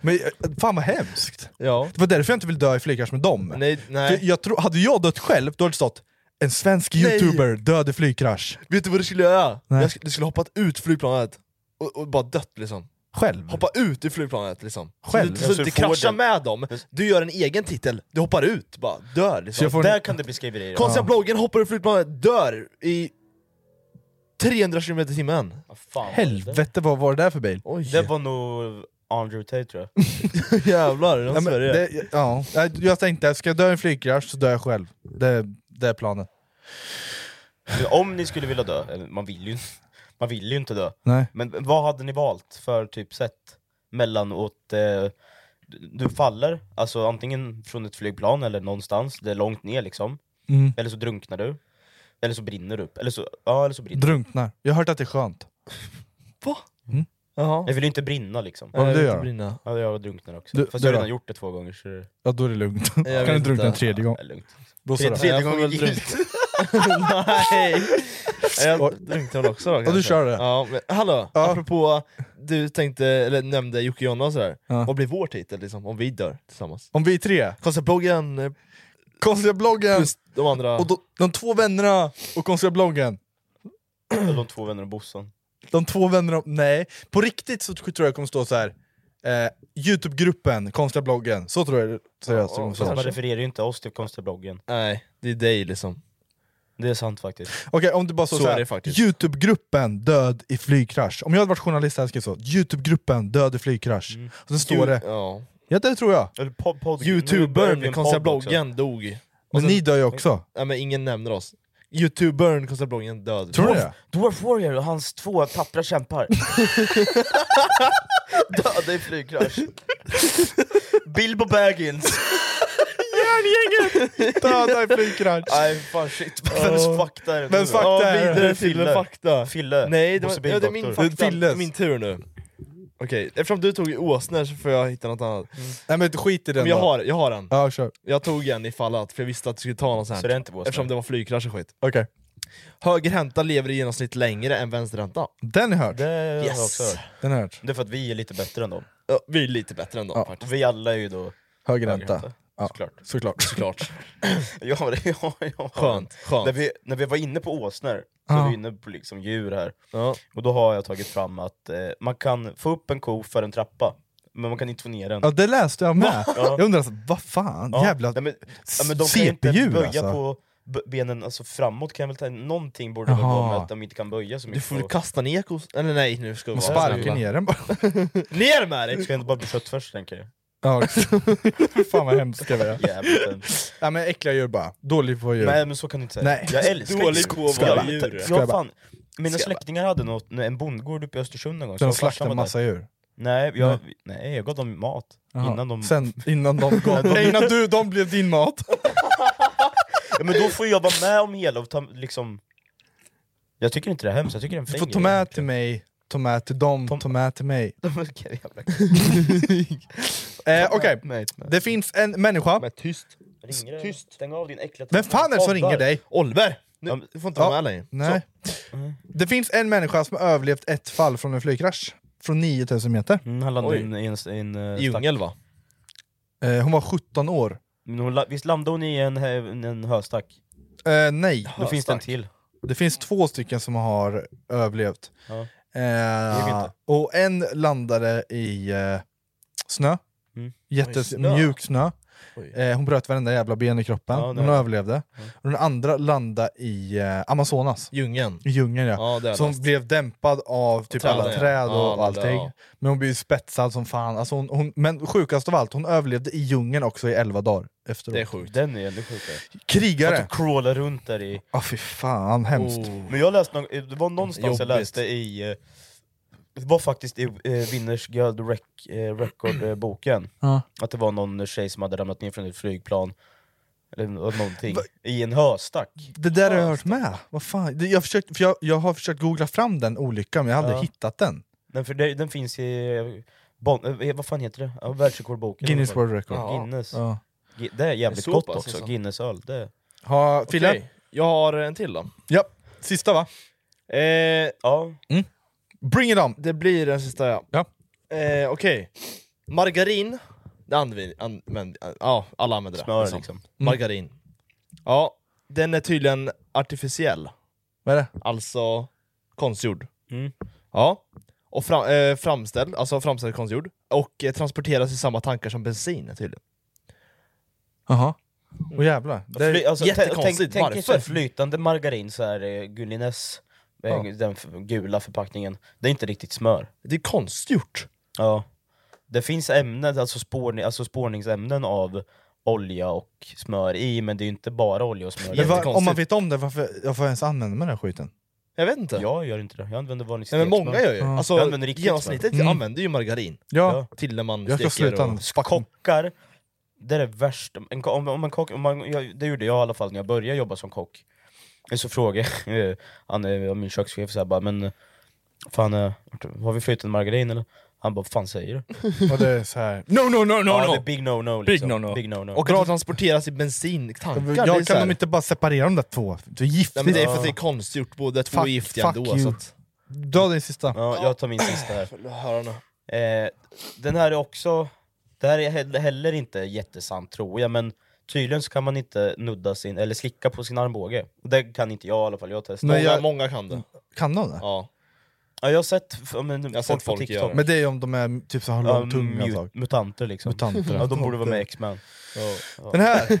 Men eh, fan vad hemskt. Ja. Det var därför jag inte vill dö i flygkrasch med dem. Nej, För nej. jag tror, hade jag dött själv, då hade det stått en svensk Nej. youtuber död i flygkrasch. Vet du vad du skulle göra? Nej. Jag sk- du skulle hoppat ut flygplanet och, och bara dött liksom. Själv? Hoppa ut ur flygplanet liksom. Själv? Alltså, Så, du- så du du inte får kraschar den. med dem, du gör en egen titel, du hoppar ut, bara dör Så liksom. jag får Där en, kan det bli skriverier. Konstiga bloggen hoppar ur flygplanet, dör i 300 km i timmen. Ja, fan vad det? helvete vad var det där för bil? Oj. Det var nog Andrew Tate tror jag. Jävlar, de Ja, men Sverige. det, ja. Nej, Jag tänkte, ska jag dö i en flygkrasch så dör jag själv. Det, det är planen. [LAUGHS] För Om ni skulle vilja dö, eller man vill ju, man vill ju inte dö. Nej. Men vad hade ni valt för typ sätt? Mellan åt, eh, du faller, alltså antingen från ett flygplan eller någonstans, det är långt ner liksom. Mm. Eller så drunknar du. Eller så brinner du upp. Eller så, ja, eller så brinner du. Drunknar. Jag har hört att det är skönt. Jaha. Jag vill ju inte brinna liksom. Vad vill du Jag göra? brinna. Ja, jag drunknar också. Du- Fast du jag har då? redan gjort det två gånger så det Ja då är det lugnt. vet kan du drunkna en inte. tredje gång. är lugnt. Blåsa Tre- då. Tredje Jag får gången väl gillt. [LAUGHS] Nej! Jag drunknade väl också då kanske. kör det. Ja, men, hallå, Ja. apropå, du tänkte, eller nämnde Jocke Jonna och sådär. Ja. Vad blir vår titel liksom, om vi dör tillsammans? Om vi är tre, Konstiga bloggen eh, konstiga bloggen plus de andra... och då, de två vännerna och konstiga bloggen. De två vännerna och bossan. De två vännerna, nej. På riktigt så tror jag det kommer stå så här. Eh, Youtube-gruppen, konstiga bloggen. Så tror jag seriöst det kommer Fast stå. man refererar ju inte oss till konstiga bloggen. Nej, det är dig liksom. Det är sant faktiskt. Okej, om du bara står Så så är det här. faktiskt. Youtube-gruppen död i flygkrasch. Om jag hade varit journalist hade jag skrivit så. Youtube-gruppen död i flygkrasch. Och sen står det, Ja. ja det tror jag. Eller pod, pod, nu börjar det bli Youtubern, en konstiga podd också. bloggen, dog. Men sen- ni dör ju också. Nej men ingen nämner oss. Youtubern, konstiga bloggen, död. Tror du det? Dwarf Warrior och hans två tappra kämpar. [LAUGHS] Döda i flygkrasch. Bilbo Baggins. Döda i flygkrasch! Nej fan shit, vems fakta är det? Vems fakta Ja, är det? vidare Vidare till Fille. fakta. Fille. Nej, det, var, Bosse ja, det är min Bindoktor. fakta. Filles. Min tur nu. Okej, eftersom du tog åsnor så får jag hitta något annat. [LAUGHS] Mm. Nej men skit i den Men jag då. har, jag har en. Ja, kör. Jag tog en ifall att, för jag visste att du skulle ta något sånt Så det är inte vår Eftersom det var flygkrasch och skit. Okej. Högerhänta lever i genomsnitt längre än vänsterhänta. Den är hört. Det har jag Yes. också hört. Den är hört. Det är för att vi är lite bättre än dem. Ja, vi är lite bättre än dem faktiskt. Vi alla är ju då... Höger ränta. Ja, Såklart. Såklart. [LAUGHS] Såklart. Ja, [LAUGHS] ja, ja. Skönt. När Skönt. vi, när vi var inne på åsnor, så Ja. är vi inne på liksom djur här. Ja. Och då har jag tagit fram att eh, man kan få upp en ko för en trappa, men man kan inte få ner den. Ja det läste jag med. Ja. Jag undrar, alltså, vad fan? Ja, Jävla... nej, men, ja, men de kan ju inte CP-djur, böja, alltså. på, b- benen alltså framåt kan jag väl ta Någonting borde väl Jaha. vara med att de inte kan böja så Du mycket. får väl kasta ner kos... Eller nej, nu ska vi vara Man sparkar snälla. ner den bara. ner med dig! Ska jag inte bara bli köttfärs tänker jag. Ja, fan vad hemska vi [LAUGHS] är. Jävligt hemskt. Ja, men äckliga djur bara. Dålig på djur. Nej men så kan du inte säga. Nej. Jag älskar Dålig Ska- på att ska vara jag bara- djur. Ska Ja, jag bara- fan. Mina ska jag släktingar hade något, en bondgård uppe i Östersund någon gång. Så de så farsan slaktade var massa där. djur? Nej jag, nej, jag gav dem mat. Jaha. Innan de... Sen, innan de gav... Nej, innan du, de blev din mat. Ja, men då får jag vara med om hela och ta, liksom... Jag tycker inte det är hemskt, jag tycker det är en Du fin får ta grej. med till mig, ta med till dem, ta med till mig. [LAUGHS] Okej, jävla- Eh, Okej, Nej, det finns en människa. tyst. Ringer det? Tyst! Stäng av din äckliga Vem fan är det som ringer dig? Oliver! Nu, du får inte vara med längre. Nej. Mm. Det finns en människa som har överlevt ett fall från en flygkrasch. Från 9000 meter. Mm, han landade Oj. i en, i en, i en eh, I djungel va? Eh, hon var 17 år. Men hon la- Visst landade hon i en, hö- en höstack? Eh, nej, Då finns det en till. det finns Mm. två stycken som har överlevt. Ja. gick Eh, inte. och en landade i eh, snö. Mm. Oj, snö. Jättemjuk snö. Oj. Eh, hon bröt varenda jävla ben i kroppen. Ja, det hon har jag. överlevde. Mm. Och den andra landade i eh, Amazonas. Djungeln. I djungeln ja. Ja, det har jag Som läst. blev dämpad av typ träden, alla ja. träd och Ja, det- allting. ja. Men hon blev ju spetsad som fan. Alltså hon, hon, men sjukast av allt, hon överlevde i djungeln också i 11 dagar efteråt. Det är sjukt. Den är ännu sjukare. Att Krigare! de crawlar runt där i... Ja fy fan, hemskt. Oh. Men jag läste någon, det var någonstans Jobbigt. jag läste i... eh, Det var faktiskt i eh, Winners Gold Rec- eh, Record-boken, Ja. att det var någon tjej som hade ramlat ner från ett flygplan, eller [LAUGHS] nå- någonting, i en höstack. Det där har jag hört med. Vad fan? Det- Jag, försökt, för jag, jag har försökt googla fram den olyckan men jag har aldrig Ja. hittat den. Den, för det, den finns i... eh, Bon, eh, vad fan heter det? Ja, Världsrekordboken. Guinness World Record. Ja, Guinness. Ja. Ge- Det är jävligt Det är så gott pass, också, alltså. Guinness-öl. Det... Ha, Fille? Okej, jag har en till då. Ja. Sista va? Eh, Ja. Bring it on! det blir den sista ja. Ja. Eh, Okej. Margarin. Det använder, använder, ja, alla använder det. Smör, liksom. Margarin. Ja, den är tydligen artificiell. Vad är det? Alltså konstgjord. Mm. Ja. Och fram, eh, framställd, alltså framställd konstgjord. Och eh, transporteras i samma tankar som bensin tydligen. Jaha. Åh jävlar. Det Fly, alltså, tänk- jättekonstigt, Tänk, tänk varför? er flytande margarin, så här, eh, Gullines, eh, Ja. den f- gula förpackningen. Det är inte riktigt smör. Det är konstgjort. Ja. Det finns ämnen, alltså, spårning, alltså spårningsämnen av olja och smör i, men det är ju inte bara olja och smör. men va, om man jättekonstigt. vet om det, varför jag får ens använda mig av den här skiten? Jag vet inte. Jag gör inte det, jag använder vanligt Nej, men många gör ju. Ja. Alltså, Jag använder riktigt genomsnittet smör. Mm. använder ju margarin. Ja. Ja. Till när man Jag ska steker sluta och... med fucking... Kockar, det är det värsta. En, ko- om, om en kock, om man, jag, det gjorde jag i alla fall när jag började jobba som kock. Så frågade [LAUGHS] jag han, eh, min kökschef, så här, bara, men fan, eh, har vi flytande margarin eller? Han bara, vad fan säger du? Och det är [LAUGHS] så här. No, no, no, no, ja, no! Det är big no no. Liksom. Big no-no. Big no, no. Och att de transporteras i bensintankar. det är Jag så kan här- de inte bara separera de där två? Det är Nej, men giftigt. det är för att det är konstgjort, båda två är Fuck- giftiga fuck ändå. you. Så att... Dra din sista. Ja, jag tar min sista [CLEARS THROAT] här. Höra nu. Eh, den här är också, det här är he- heller inte jättesant tror jag, men tydligen så kan man inte nudda sin, eller slicka på sin armbåge. Det kan inte jag i alla fall, jag har testat. Men Många, jag, jag- Mm. många kan det. Kan de det? Ja. ja, jag har sett, f- ja, men, har folk, sett på folk TikTok. göra Men det är ju om de är typ så här Ja, långtunga mut- och så. mutanter liksom. Mutanter. Ja, de borde vara med i X-Men. Ja, ja. Den här!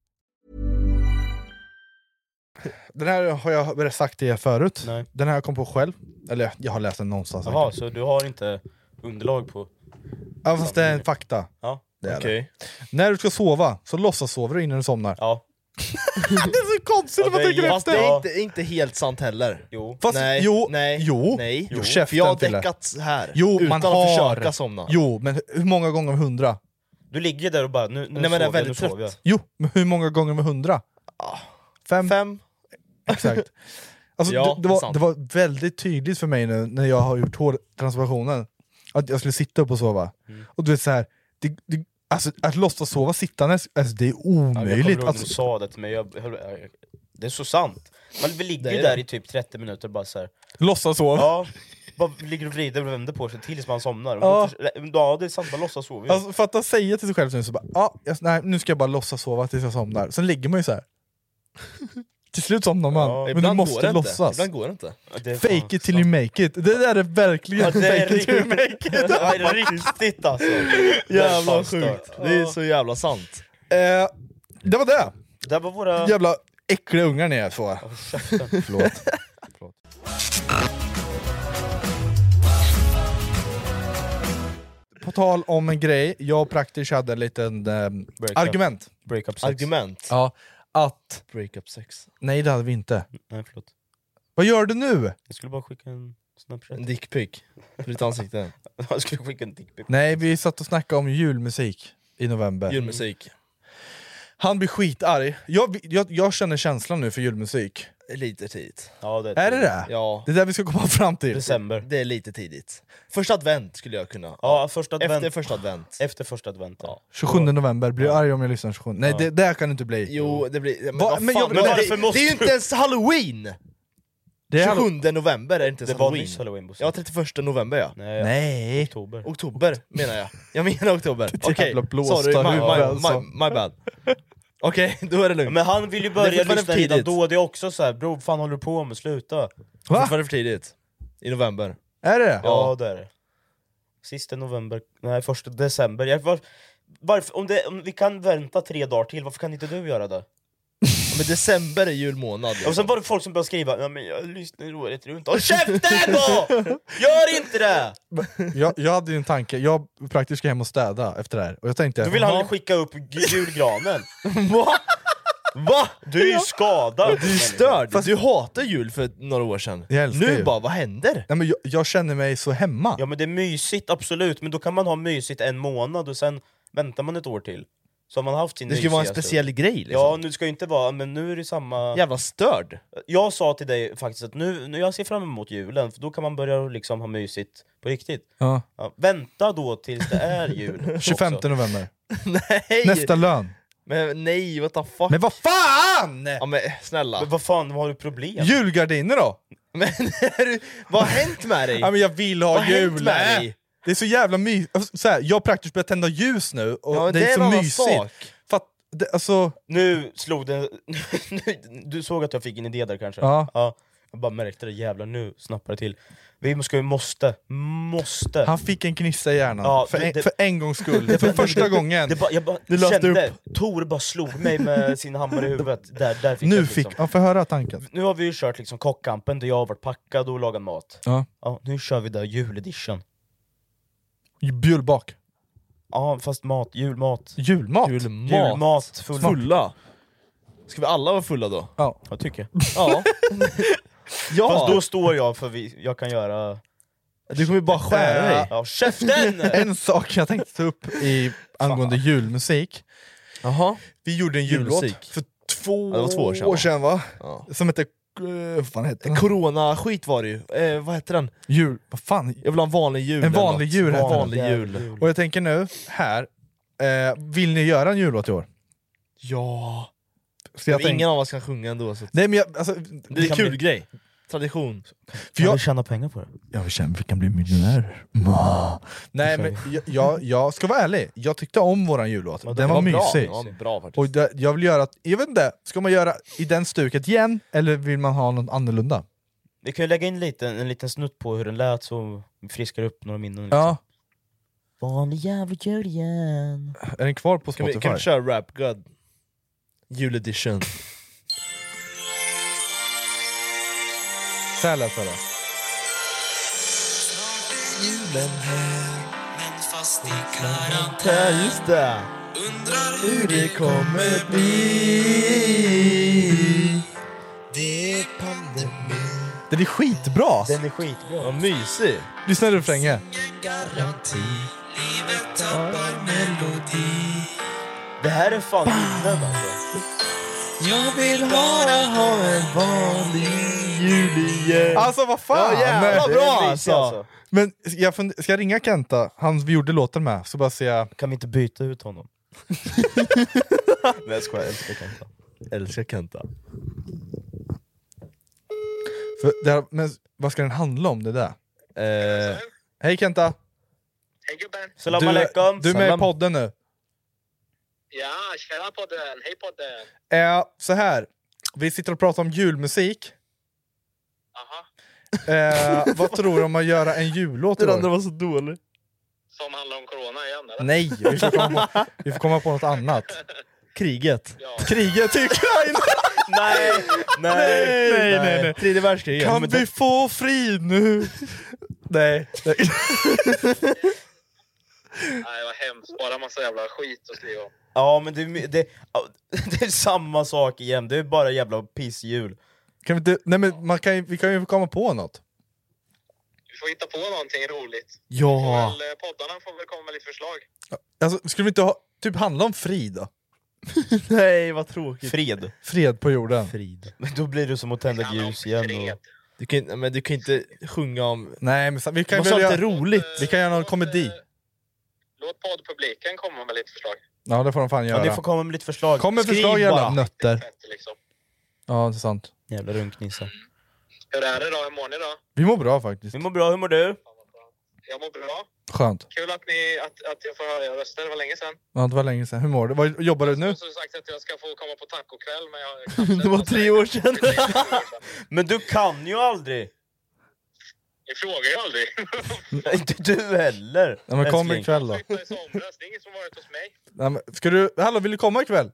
Den här har jag väl sagt till er förut. Nej. Den här kom på själv. Eller jag har läst den någonstans. Jaha, så du har inte underlag på... Ja, fast det är en fakta. Ja. Det är Okej. det. När du ska sova, så låtsas sover du innan du somnar. Ja. [LAUGHS] det är så konstigt när man tänker Fast det är efter! inte, inte helt sant heller. Jo. Fast nej, jo, nej, jo, nej. jo, För jag har käften, Tille. däckat här, Jo, utan man att har. försöka somna. Jo, men hur många gånger av hundra? Du ligger där och bara, nu, nu Nej, men jag är sover jag, nu väldigt sover jag. trött. Jo, men hur många gånger med hundra? Fem. Fem. Exakt. [LAUGHS] Alltså, Ja, det, det det, är var, sant. det var väldigt tydligt för mig nu när jag har gjort hårtransplantationen att jag skulle sitta upp och sova. Mm. Och du vet så här, det, det, alltså, att låtsas sova sittandes, alltså, det är Ja, Jag kommer omöjligt. ihåg när du alltså, sa det till mig, jag, jag, jag, det är så sant. Man ligger Det ju är där det. i typ 30 minuter och bara såhär, låtsas sova. ja, [LAUGHS] bara ligger och vrider och vänder på sig tills man somnar. Och Ja. då förs- ja det är sant, man låtsas sova ju. Alltså, fatta att säga till sig själv nu, så bara, ah, jag, nej, nu ska jag bara låtsas sova tills jag somnar. Sen ligger man ju så [LAUGHS] här. till slut somnar man, men du Ibland går det måste inte. låtsas. Ibland går det inte. Det är fan Fake it till you make it. Det där är verkligen Ja, det är fake it till you riktigt- make it. [LAUGHS] Det är riktigt alltså! Jävla sjukt. Det är så jävla sant. Eh, det var det. Det var våra... Jävla äckliga ungar ni är två. [LAUGHS] Förlåt. På tal om en grej, jag och Praktish hade en liten ehm, Breakup. argument. Breakup sex. Argument. Ja, att... Breakup sex. Nej det hade vi inte. Nej förlåt. Vad gör du nu? Jag skulle bara skicka en [LAUGHS] snapchat. En dickpic. För ditt ansikte. Jag skulle skicka en dickpic. Nej, vi satt och snackade om julmusik i november. Julmusik. Han blir skitarg. Jag, jag, jag känner känslan nu för julmusik. Lite tidigt. Ja, det Är det det? Ja, Det är där vi ska komma fram till. December. det är lite tidigt. Första advent skulle jag kunna. Ja, första advent. Efter första advent. Efter första advent. Ja. 27 november, blir du arg om jag lyssnar 27? Nej, det, där kan du inte bli. Jo, det blir... Men, Va- vad men fan, jag- det- men varför det, måste det är ju du- inte ens halloween! Det är hallo- 27 november är inte ens Det var halloween. nyss halloween Bosse. Ja, 31 november ja. Nej, Nej. oktober. Oktober menar jag. Jag menar oktober. Okej, jävla blåsta sorry. My, huvud, my, alltså. my, my bad. Okej, då är det lugnt. Men han vill ju Det är börja fortfarande lyssna för redan tidigt. då, det är också så här, bror vad fan håller du på med? Sluta! Va? Fortfarande för tidigt. I november. Är det det? Ja, det är det. Sista november, nej första december. Jag var, varför, om, det, om vi kan vänta tre dagar till, varför kan inte du göra det? Ja, Men december är julmånad. Och sen var det folk som började skriva ja, men jag lyssnar året runt. Håll käften då! Gör inte det! Jag, jag hade ju en tanke, jag praktiskt ska hem och städa efter det här, och jag tänkte... Då vill han "Jaha, ju skicka upp g- julgranen. Va? Va? Du är ju skadad! Du är störd! Du hatade jul för några år sedan. Jag älskar Nu ju. bara, vad händer? Nej, men jag, jag känner mig så hemma. Ja men det är mysigt, absolut, men då kan man ha mysigt en månad och sen väntar man ett år till. Så har man haft sin Det ska ju vara en mysiga speciell grej stund. Ja, liksom. nu ska ju inte vara, men nu är det samma... Jävla störd! Jag sa till dig faktiskt att nu, nu jag ser fram emot julen, för då kan man börja liksom ha mysigt på riktigt. Ja. Ja, vänta då tills det [LAUGHS] är jul. 25 också. november, Nej! nästa lön. Men nej, what the fuck? Men vad fan! Ja men eh, snälla, Men vad fan, har du problem? Julgardiner då? men, är du- vad har hänt med dig? Ja, men jag vill ha Vad har hänt jul! med Nej. dig? Det är så jävla mysigt. Så här, jag har praktiskt börjat tända ljus nu, och Ja, men det, det är är så en annan mysigt. sak. Fatt, det, alltså, Nu [LAUGHS] slog det... nu, du såg att jag fick en idé där kanske? Ja. jag bara märkte det, jävlar nu snappar det till. Vi ska, vi måste, måste! han fick en gnista i hjärnan, Ja, för, det- en, det- för en [LAUGHS] gångs skull. för första gången. Det bara, jag bara Det löste kände, Tor bara slog [LAUGHS] mig med sin hammare i huvudet. Där, där fick nu jag fick liksom. han, får höra tanken. Nu har vi ju kört liksom kockkampen där jag har varit packad och lagat mat. Ja. Ja, nu kör vi där juledition. Julbak. Ja, fast mat, julmat. Julmat. Julmat. Julmat, full Fulla! Ska vi alla vara fulla då? Ja. Jag tycker Ja. [LAUGHS] ja. Fast då står jag för vi, jag kan göra... du kommer ju bara skära dig. Ja, käften! En sak jag tänkte ta upp i, angående julmusik. Jaha. Vi gjorde en Julmusik. jullåt för två, Ja, det var två år sedan, år va? sedan va? Ja. Som hette... eh, Vad fan hette den? Corona-skit var det ju. Eh, vad heter den? Jul... Vad fan? Jag vill ha en vanlig jul. En eller vanlig något. jul heter den. vanlig jul. Och jag tänker nu, här. Eh, vill ni göra en jullåt i år? Ja. Så jag tänker- Ingen av oss kan sjunga ändå. Så. Nej men jag, alltså, det Det är är en kul kul grej. Tradition. för jag, tjäna pengar på det? jag känner vi kan bli miljonärer. Nej men jag, jag, jag ska vara ärlig, jag tyckte om våran jullåt, den, var, mysig. Bra. Den var bra faktiskt. Och det, jag vill göra, jag vet inte, ska man göra i den stuket igen, eller vill man ha något annorlunda? Vi kan ju lägga in lite, en liten snutt på hur den lät så vi friskar upp några minnen. Liksom. Ja. Vanlig jävla jul igen. Är den kvar på Kan vi, Spotify? kan vi köra Rap God? Jul edition. Så här lät det. julen här Men fast i Ja, just det. Undrar hur det kommer bli. Det är pandemi Den är skitbra! Den är skitbra. Vad mysig. Lyssna på refrängen. garanti Livet tappar melodi Det här är fan innan alltså. Jag vill bara ha en vanlig jul igen Alltså vad fan! Ja jävlar Nej. bra alltså! Men jag fund- ska jag ringa Kenta, han vi gjorde låten med, så bara säga... Kan vi inte byta ut [LAUGHS] honom? Nej jag skojar, jag älskar Kenta. Älskar Kenta. För det här, men vad ska den handla om det där? Eh, hej Kenta! Hej gubben! Salam du, alaikum. Du är med i Salam. podden nu. Ja, tjena podden! Hej podden! Eh, så här. vi sitter och pratar om julmusik. Eh, vad tror du om att göra [LAUGHS] en jullåt i Den år? andra var så dålig. Som handlar om corona igen eller? Nej, vi får komma på, vi får komma på något [LAUGHS] annat. Kriget. Kriget i [LAUGHS] Ukraina! nej, nej, Ah, nej, nej, nej. Tredje världskriget. Kan Men vi det- få frid nu? nej. nej. Nej, vad hemskt. Bara massa jävla skit att skriva om. Ja men det, är [LAUGHS] my- det, det är samma sak igen, det är bara jävla pisshjul. Kan vi, inte, nej men man kan, ju- vi kan ju komma på något. Vi får hitta på någonting roligt. Ja. Får väl, eh, poddarna får väl komma med lite förslag. Alltså, skulle vi inte ha, typ handla om frid då? Nej vad tråkigt. Fred. Fred på jorden. Frid. Men då blir det som att tända ett ljus igen. Och... Du kan, men du kan inte sjunga om... Nej men så- vi kan Måste väl ha göra- lite roligt. Vi kan göra någon komedi. Låt poddpubliken komma med lite förslag. Ja det får de fan Ja, göra. ni får komma med lite förslag. Kom med Skriv förslag bara. jävla nötter. Liksom. Ja det är sant. Jävla runknisse. Hur är det då? Hur mår ni då? Vi mår bra faktiskt. Vi mår bra, hur mår du? Jag mår bra. Skönt. Kul att, ni, att, att jag får höra era röster. Det var länge sedan. Ja, det var länge sedan. Hur mår du? Vad jobbar du [LAUGHS] nu? Jag har sagt att jag ska få komma på tacokväll, men jag... [LAUGHS] Det var tre år sedan. Men du kan ju aldrig! [LAUGHS] Ni frågar ju aldrig. Inte du heller! Ja, men kom älskling. ikväll då. Det är somras. Det är ingen som varit hos mig. Nej, men Ska du... Hallå vill du komma ikväll?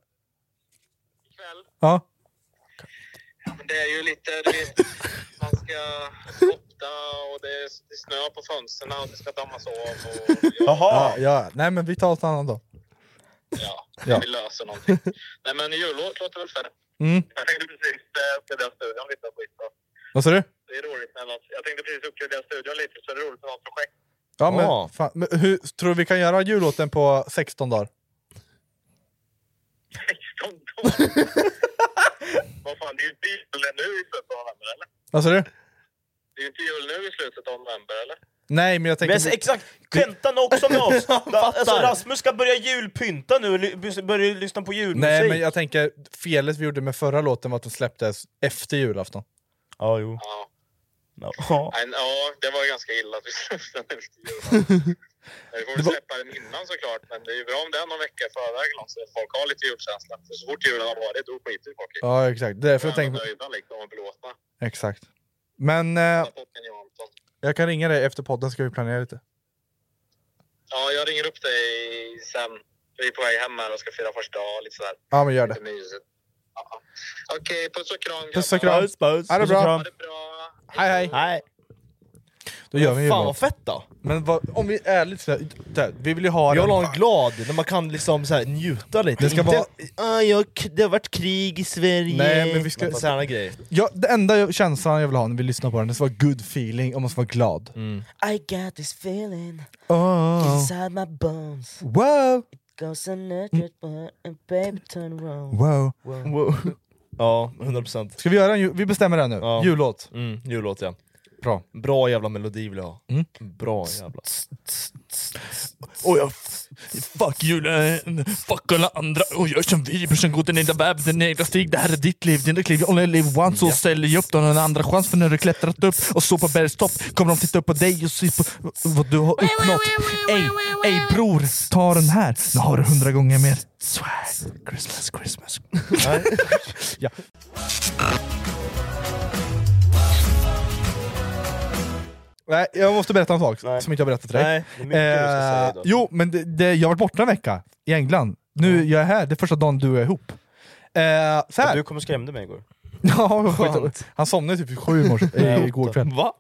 Ikväll. Ja. Ja, men det är ju lite, du vet, man ska opta och det är, det är snö på fönstren och det ska dammas av. Och, Jaha! Ja, ja. Nej men vi tar oss en annan dag. ja, Ja. vi löser någonting. Nej men jullåt låter väl färre. Mm. Jag tänkte precis eh, uppgradera studion lite. och skit, så. Vad sa du? Det är roligt med något. Jag tänkte precis uppgradera studion lite så det är roligt med något projekt. Ja men, Ja. Fan, men hur, tror du vi kan göra jullåten på 16 dagar? [LAUGHS] Vad fan, det är ju inte jul nu i slutet av november eller? Vad sa du? Det är ju inte jul nu i slutet av november eller? Nej men jag tänker... Men alltså, exakt, Kentan är också med [LAUGHS] oss! alltså, Fattar. Rasmus ska börja julpynta nu och ly- börja lyssna på julmusik! Nej men jag tänker, felet vi gjorde med förra låten var att den släpptes efter julafton. Ja jo. Ja. Nej, Ja, det var ju ganska illa att vi släppte den efter jul. Vi får väl släppa den innan såklart, men det är ju bra om det är någon vecka i förväg eller något, så att folk har lite julkänsla. För så fort julen har varit, då skiter ju folk i Ja, exakt. Det är därför jag Då är tänker- de nöjda liksom och belåtna. Exakt. Men eh, jag kan ringa dig efter podden ska vi planera lite. Ja, jag ringer upp dig sen. Vi är på väg hem här och ska fira första dag och lite sådär. Ja, men gör det. Lite mysigt. Ja. Okej, puss och kram Puss och kram. grabbar. Ha det Puss bra. och kram. Hej hej. hej. Då gör vi en Fan jullåt. vad fett då! Men vad, om vi ärligt så där, vi vill ju Jag ha den- vill ha en glad, när man kan liksom så här, njuta lite. Det ska Inte, vara- "Ah, jag, det har varit krig i Sverige. Nej, men vi ska- Sådana grejer. Ja, det enda jag- känslan jag vill ha när vi lyssnar på den, det ska vara good feeling och man ska vara glad. Mm. I got this feeling Oh. inside my bones Wow! It goes another one and baby turn around Wow. Ja, 100%. Ska vi göra en ju- Vi bestämmer det nu. Ja. Jullåt. Mm, jullåt ja. Bra. Bra jävla melodi vill jag ha. Mm. Bra jävla... Oh, jag Fuck julen, fuck alla andra och gör som vi brorsan, gå din egna väg, din egna stig. Det här är ditt liv, dina kliv, you only live once. Så ställ dig upp, du har en andra chans för när du klättrat upp och så på bergstopp kommer de titta upp på dig och se på vad du har uppnått. Ey, ey bror, ta den här. Nu har du hundra gånger mer. Swag, Christmas, Christmas. ja. Nej, jag måste berätta en sak som inte jag berättat för dig. Eh, Nej, det är mycket du ska säga idag. jo, men det, det, jag har varit borta en vecka i England. Nu jag är här, det är första dagen du och jag är ihop. Eh, så [LAUGHS] här. Du kom och skrämde mig igår. Ja, skit. Han somnade typ vid sju i morse, eh, igår kväll. Va?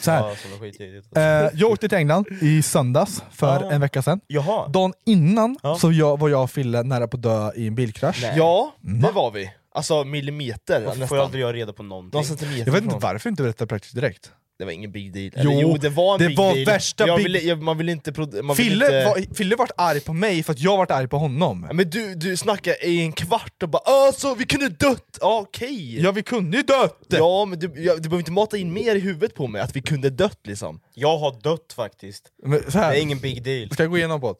Så här. Ja, som var skittidigt. Eh, jag åkte till England i söndags för en vecka sedan. Jaha. Dagen innan så jag, var jag och Fille nära på att dö i en bilkrasch. Ja, det var vi. Alltså millimeter Varför får nästan. jag aldrig göra reda på någonting? Någon centimeter Jag vet inte ifrån. varför jag inte berättade praktiskt direkt. Det var ingen big deal. Eller, Jo, jo, det var en det big var deal. värsta jag big- ville, jag, man vill inte... produ- Man vill Fille, inte... var, Fille vart arg på mig för att jag vart arg på honom. Men du, du snackar i en kvart och bara alltså vi kunde dött, ja, okej! Ja vi kunde ju dött! Ja men du, jag, du behöver inte mata in mer i huvudet på mig, att vi kunde dött liksom Jag har dött faktiskt. Men så här. Det är ingen big deal. Ska jag gå igenom på det?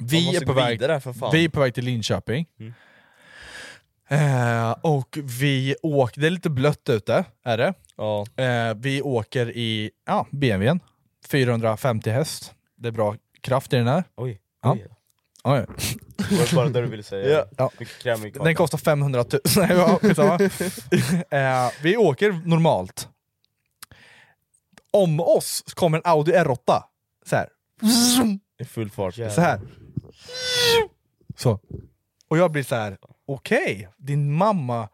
Man Vi måste är, på gå väg, vidare, för fan. vi är på väg till Linköping. Mm. Eh, och vi åker, det är lite blött ute, är det. Ja. Eh, vi åker i ja, BMWn, 450 häst. Det är bra kraft i den här. Oj. Ja. Oj. Det var bara det du ville säga. Ja. Ja. Mycket kräm i kakan. Den kostar 500 000. [LAUGHS] Nej, ja, [LAUGHS] skitsamma. eh, vi åker normalt. Om oss kommer en Audi R8. Så här. I full fart Så här. Så. Och jag blir så här. okej, din [LAUGHS] mamma.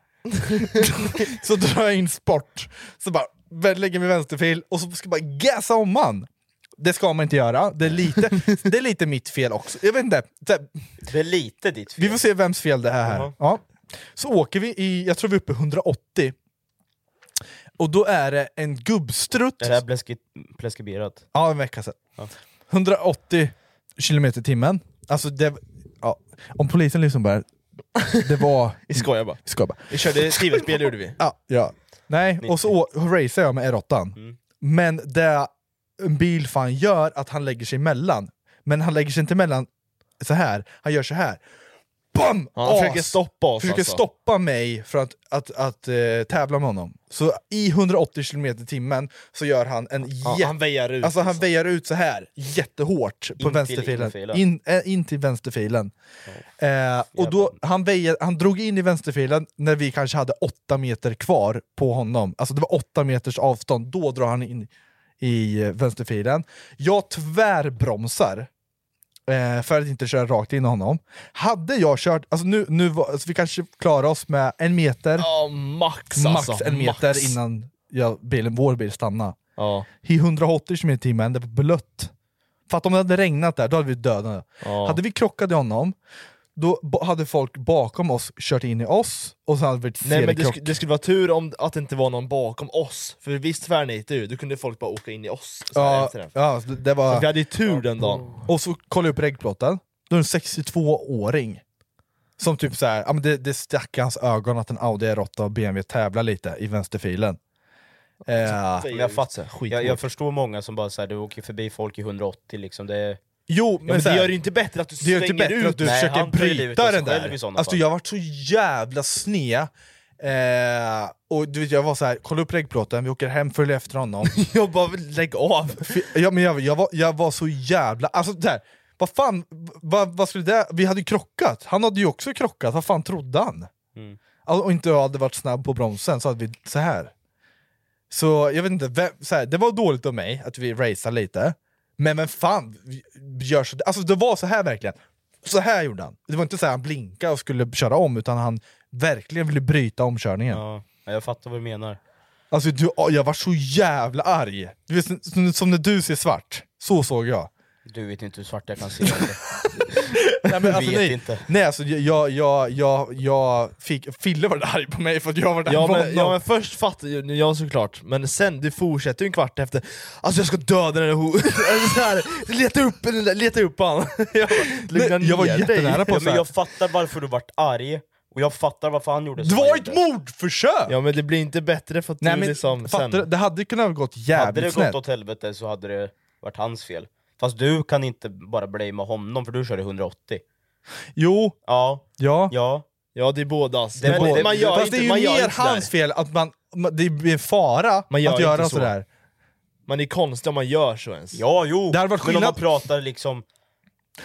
så drar jag in sport. Så bara vä- lägger mig i vänsterfil och så ska jag bara gasa om man. Det ska man inte göra. Det är lite, det är lite mitt fel också. Jag vet inte. Så här, Det är lite ditt fel. vi får se vems fel det är här. Jaha. Ja. Så åker vi i, jag tror vi är uppe i 180. Och då är det en gubbstrutt. Är det här pleski- preskriberat? Ja, en vecka sedan. 180 kilometer i timmen. Alltså det, ja. Om polisen lyssnar på det här, det var... Vi skojar bara. Vi skojar bara. Vi körde skrivarspel gjorde vi Ja, ja. Nej, och så å- racear jag med R8. Mm. Men det en bil fan gör att han lägger sig emellan. Men han lägger sig inte emellan så här. han gör så här. Bam! Han försöker stoppa oss Försöker alltså. stoppa mig för att, att, att eh, tävla med honom. Så i 180 km i timmen så gör han en Ja, jä- han väjar ut, Alltså han väjar ut så här jättehårt på Typ In till vänsterfilen. innerfilen. In, eh, in till vänsterfilen. Eh, och då, han, väjer, han drog in i vänsterfilen när vi kanske hade 8 meter kvar på honom. Alltså det var 8 meters avstånd. Då drar han in i eh, vänsterfilen. Jag tvärbromsar eh, för att inte köra rakt in i honom. Hade jag kört, alltså nu, nu var, alltså vi kanske klarar oss med en meter, Ja max max alltså, en max. meter innan jag, bilen, vår bil stannade. Ja. I 180 km i timmen, det var blött. För att om det hade regnat där, då hade vi dödat Ja. Hade vi krockat i honom, då ba- hade folk bakom oss kört in i oss, och sen hade vi ett Nej men det, seriekrock. sk- det skulle vara tur om att det inte var någon bakom oss, för visst tvärnitade du, då kunde folk bara åka in i oss så här Ja, efter den. ja, det- det var... Så vi hade ju tur den dagen. Och så kollade jag upp regplåten, då är det en 62-åring som typ så här, ja, men det, det stack i hans ögon att en Audi R8 och BMW tävlar lite i vänsterfilen. Eh, Men jag fattar. Jag, jag förstår många som bara säger du åker förbi folk i 180 liksom. Det är... Jo, men, men det så här- gör det inte bättre att du det gör inte svänger bättre ut. att du Nej, försöker han tar ju livet bryta av sig den där. själv i sådana Alltså fall. jag vart så jävla sned. Eh, och du vet, jag var så här, kolla upp regplåten, vi åker hem, följer efter [LAUGHS] honom. jag bara, lägg av! Ja, men jag, jag, var, jag var så jävla... Alltså det här, vad fan, vad, vad skulle det... Vi hade ju krockat, han hade ju också krockat, vad fan trodde han? Mm. Alltså, och inte jag hade varit snabb på bromsen så hade vi så här. Så jag vet inte, vem, så här, det var dåligt av mig att vi raceade lite. Men men fan, vi- gör så, alltså det var så här verkligen. Så här gjorde han. Det var inte så här han blinkade och skulle köra om, utan han verkligen ville bryta omkörningen. Ja, men jag fattar vad du menar. Alltså du, åh, jag var så jävla arg. Du vet, som, som när du ser svart, så såg jag. Du vet inte hur svart jag kan [LAUGHS] se. Eller. [LAUGHS] Nej, men alltså, Vet nej, inte. nej alltså jag, jag, jag, jag fick, Fille var arg på mig för att jag var arg Ja på men, ja honom. men först fattar ju jag såklart, men sen du fortsätter ju en kvart efter Alltså jag ska döda den där ho- [LAUGHS] Eller så här, Leta upp den där- leta upp han! [LAUGHS] Jag, bara, lugna jag var ner dig. jättenära ja, men jag fattar varför du vart arg, och jag fattar varför han gjorde Det han var ett gjorde. mordförsök! Ja men det blir inte bättre för att Nej, du men liksom Fattar sen... du? Det hade kunnat ha gått Hade jävligt det snett. gått åt helvete så hade det varit hans fel. Fast du kan inte bara blamea honom för du körde 180. Jo. Ja. Ja. Ja. Ja det är bådas. Det är Men båda- man gör Fast inte, det är ju man gör mer inte sådär. hans fel att man, man, det blir en fara Man gör att göra inte så. sådär. Man är konstig om man gör så ens. Ja jo, Det hade varit men om man skillnad- pratar liksom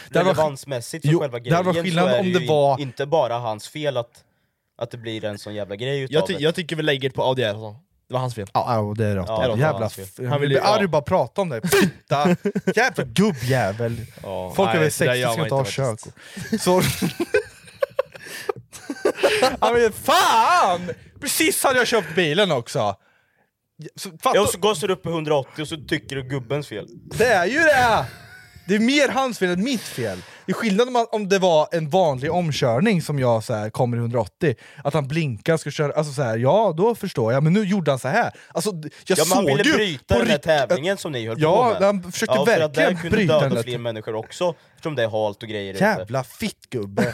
Det hade varit- relevansmässigt för Jo, själva det hade grejen varit skillnad så är om ju det var- in- inte bara hans fel att, att det blir en sån jävla grej utav Jag, ty- det. jag tycker vi lägger det på Audi R8. Det var hans fel. Ja, ja, det är rätt. Ja, det var jävla hans fel. f- Han Han ville ville ju- arg ja. bara prata om dig. [LAUGHS] Fitta! Jävla gubbjävel. Folk nej, över det där 60 gör ska man inte ha inte körkort. Så... [LAUGHS] ja, men fan! Precis hade jag köpt bilen också. Ja, och så gasar du upp i 180 och så tycker du gubbens fel. Det är ju det! Det är mer hans fel än mitt fel. Det är skillnad om, han- om det var en vanlig omkörning som jag så här, kommer i 180, att han blinkar ska köra, alltså så här, ja då förstår jag, men nu gjorde han så här. Alltså, d- jag ja, såg men han ville ju bryta på den här rikt- att- tävlingen som ni höll Ja, på med. han försökte för att verkligen där kunde bryta den döda där- typ- fler människor också, eftersom det är halt och grejer. ute. Jävla fittgubbe!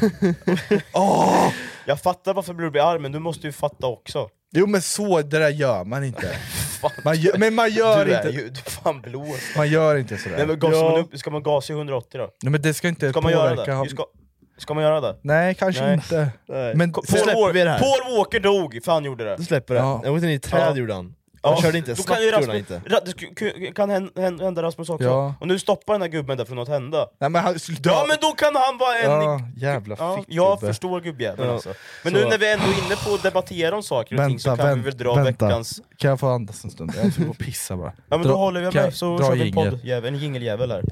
Jag fattar varför du blir arg, men du måste ju fatta också. Jo men så, det där gör man inte. man gör, men man gör du inte Är ju, du är fan blåst. Man gör inte sådär. Nej, men gasar Ja. man upp, ska man gasa i 180 då? Nej, men det ska inte Ska man göra påverka det? han- Vi Ska, ska man göra det? Nej, kanske inte. Nej. Men- Ko- så Paul, släpper Walker, vi det här. Paul Walker dog, för han gjorde det. Du släpper det. Ja. Jag vet inte, i träd gjorde han. Han körde inte, Då snabbt kan ju gjorde han Rasmus, inte. Ra- det sku- ku- kan hän- hän- hända Rasmus också. Ja. Och nu stoppar den här gubben där från att hända. Nej, men han skulle dö. Ja men då kan han vara en... Ja, jävla ja, fickgubbe. jag förstår gubbjäveln Ja. alltså. Men Så- nu när vi är ändå inne på att debattera om saker och ting så Vänta, kan vi vänta, väl dra vänta. veckans... Kan jag få andas en stund? Jag ska gå och pissa bara. Ja men Dra- då håller vi kan med jag så dra kör vi en jingel? podd, jävel- en jingeljävel här.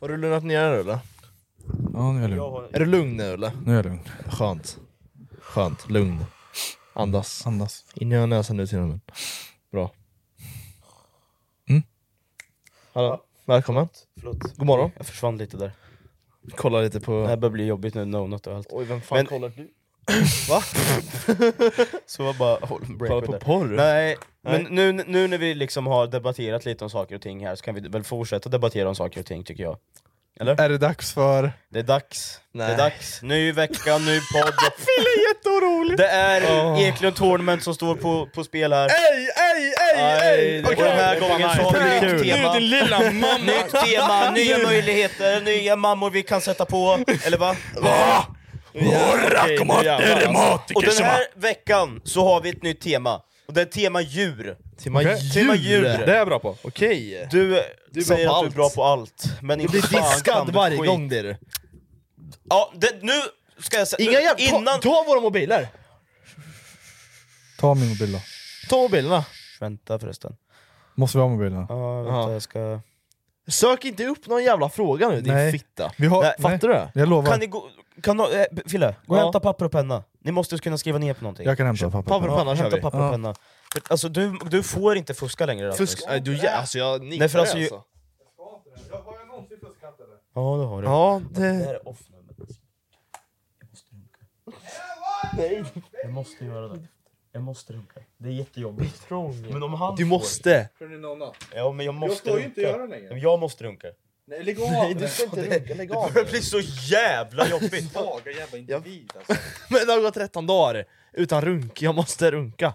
Har du lugnat ner dig eller? Ja, nu är jag lugn. Är du lugn nu eller? Nu är jag lugn. Skönt. Skönt, lugn. Andas. Andas. In i näsan ut genom munnen. Bra. Mm. Hallå, välkommen. Förlåt. God morgon. Jag försvann lite där. Kolla lite på... Det här börjar bli jobbigt nu, no-not och allt. Oj, vem fan Men- kollar [LAUGHS] du? Va? så jag bara hold and break Kolla with på that. porr? Nej, Nej. men nu, nu när vi liksom har debatterat lite om saker och ting här så kan vi väl fortsätta debattera om saker och ting tycker jag. Eller? Är det dags för... Det är dags, det Nej. är dags. Ny vecka, ny podd. Fille är jätteorolig! Det är Åh. Eklund Tournament som står på, på spel här. Ej, ej, ej, ej! Och den här gången så har vi nytt tema. Nytt tema, nya möjligheter, nya mammor vi kan sätta på. Eller va? Va? Och den här veckan så har vi ett nytt tema. Och det är tema djur. Tema djur. Tema djur. Det är jag bra på. Okej. Du, Du är säger bra att på du är allt. bra på allt. Men Du blir inte fan kan diskad du varje skit. gång det är du. Ja, det, nu ska jag säga... Inga jävla... innan... Ta, ta våra mobiler! Ta min mobil då. Ta mobilerna. Vänta förresten. Måste vi ha mobilen? Ja, vänta, jag ska... Sök inte upp någon jävla fråga nu din Nej. fitta. Vi har- Nej, nej. Fattar du det? Jag lovar. Kan ni gå... Kan du, eh, Fille, gå och Ja. hämta papper och penna. Ni måste kunna skriva ner på någonting. Jag kan hämta papper och Papper och penna kör hämta vi. papper och penna. För, Alltså du, du får inte fuska längre Rasmus. Fusk... Nej, du, jä- alltså jag nickar Nej, för alltså, ju- alltså. Ja det har du. Ja, det... är off Jag måste göra det. Jag måste runka. Det är jättejobbigt. Men om han Du får- måste! Ja men jag måste får ju inte runka. göra det längre. Men Jag måste runka. Nej, lägg av! [LAUGHS] Nej, du ska inte runka, [LAUGHS] lägg av Det blir så jävla [LAUGHS] jobbigt. Svaga jävla individ alltså. Men det har gått 13 dagar utan runk, jag måste runka.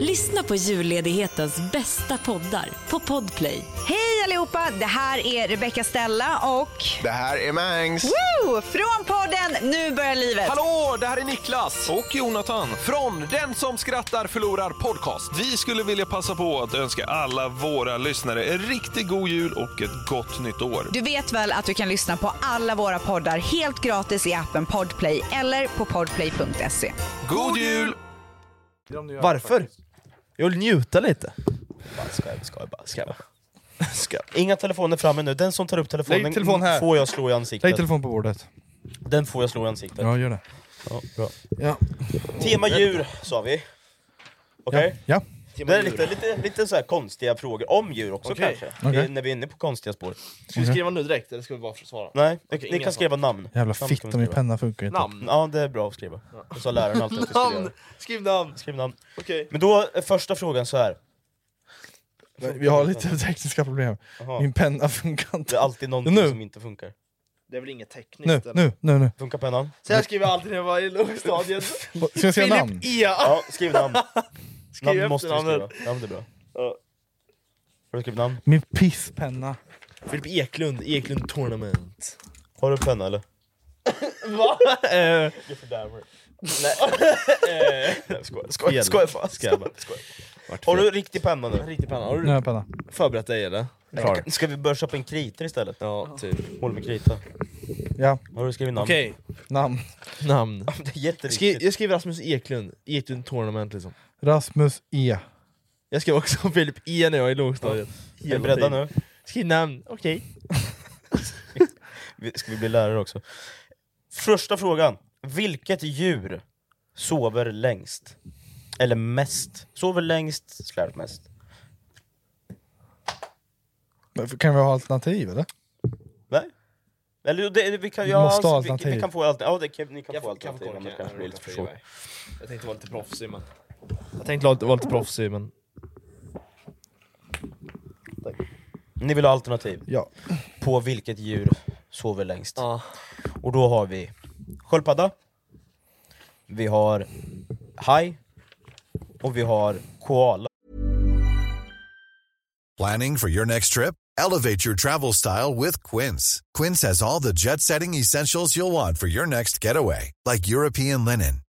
Lyssna på julledighetens bästa poddar på Podplay. Hej allihopa! Det här är Rebecca Stella och... Det här är Mangs. Woo! Från podden Nu börjar livet! Hallå, det här är Niklas och Jonathan från Den som skrattar förlorar podcast. Vi skulle vilja passa på att önska alla våra lyssnare en riktigt god jul och ett gott nytt år. Du vet väl att du kan lyssna på alla våra poddar helt gratis i appen Podplay eller på podplay.se. God jul! Varför? Jag vill njuta lite. Ska jag, ska jag bara, [LAUGHS] ska jag bara. Inga telefoner framme nu, den som tar upp telefonen Lägg telefon här. får jag slå i ansiktet. Lägg telefon på bordet. Den får jag slå i ansiktet. Ja, gör det. Ja, bra. Ja. Tema djur sa vi. Okej? Ja. Det är lite, lite, lite så här konstiga frågor om djur också Okej. kanske. Okej. Vi, när vi är inne på konstiga spår. Ska vi skriva nu direkt eller ska vi bara svara? Nej, Okej, ni ingen kan sån. skriva namn. Jävla Namn kan vi fitta, min skriva. penna funkar inte. Namn. Ja, det är bra att skriva. Det sa läraren alltid att vi skulle Namn! göra. Skriv namn! Skriv namn. Okej. Men då är första frågan så här. Vi har lite [LAUGHS] tekniska problem. Jaha. Min penna funkar Det inte. är alltid någonting Nu. som inte funkar. Det är väl inget tekniskt? Nu, nu, nu, nu. Funkar pennan? Så här skriver jag alltid när jag var i lågstadiet. Ska Ska jag säga namn? E. Ja, skriv namn. [LAUGHS] Skriv namn måste du efternamnet. skriva. Ja, men det är bra. Har du skrivit namn? Min pisspenna. Filip Eklund, Eklund Tournament. Har du en penna eller? [LAUGHS] Va? Eh, Eh. Nej. Skoja, skoja, skoja, skoja, skoja, skoja. Har du riktig penna nu? Riktig penna. Har du Nu har jag penna. förberett dig eller? Klar. Ska vi börja köpa en kriter istället? Ja, typ. Mål med krita. Ja. Har du skrivit namn? Okej. Namn. [LAUGHS] Namn. det är jätteviktigt. Skri- jag skriver Rasmus Eklund, Eklund Tournament liksom. Rasmus E. Jag skrev också [LAUGHS] Filip E när jag var i lågstadiet. Är vi beredda nu? Skriv namn, okej. [LAUGHS] Vi- Ska vi bli lärare också? Första frågan. Vilket djur sover längst? Eller mest? Sover längst, slär mest. Men Kan vi ha alternativ eller? Nej? Eller jo, det, vi kan, Vi ja, måste ha alltså, vi, vi alternativ. kan få alternativ. Ja, det kan, ni kan få alternativ om det korka. kanske blir lite för svårt. Jag tänkte vara lite proffsig men... Jag tänkte vara lite, vara lite proffsig men... Ni vill ha alternativ? Ja. På vilket djur sover längst? Och då har vi sköldpadda, vi har haj, och vi har koala. Planning for your next trip? Elevate your travel style with Quince. Quince has all the jet setting essentials you'll want for your next getaway, like European linen,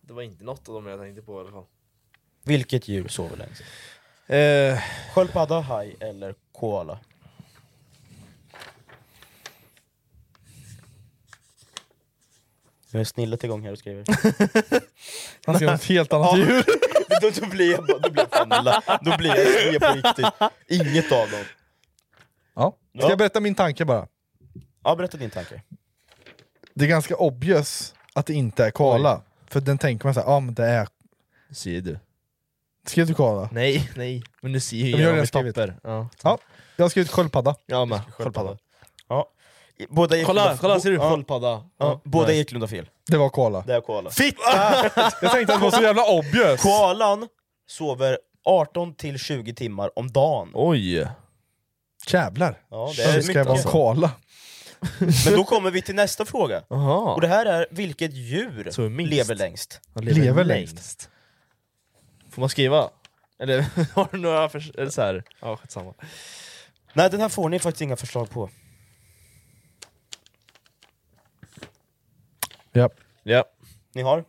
Det var inte något av dem jag tänkte på i alla fall. Vilket djur sover längst? Eh. Sköldpadda, haj eller koala? Nu är snillet igång här och skriver. Han skrev något helt annat djur. då, då blir jag, bara- då blir jag fan la- Då blir jag sned på riktigt. Inget av dem. Ja. Ska jag berätta min tanke bara? Ja, berätta din tanke. Det är ganska obvious att det inte är koala. För den tänker man såhär, ja ah, men det är... Ser du? Skrev du koala? Nej, nej. Men du ser ju Ja, men jag har genom redan mitt skrivit. papper. Ja. Ja, jag har skrivit sköldpadda. Jag med. Sköldpadda. Ja. Båda Kolla, Eklund- kolla ser du? Ja. Sköldpadda. Ja, båda Nej. Eklund har fel. Det var [LAUGHS] koala. Det är koala. Fitta! Jag tänkte att det var så jävla obvious. Koalan sover 18 till 20 timmar om dagen. Oj! Jävlar. Ja, det det är ska mycket jag vara alltså. koala. Men då kommer vi till nästa fråga. Aha. Och det här är vilket djur Så minst. lever längst? Han lever, längst. Får man skriva? Eller [LAUGHS] har du några för... Eller så här. Ja, skitsamma. Nej, den här får ni faktiskt inga förslag på. Ja. Ja. Ni har?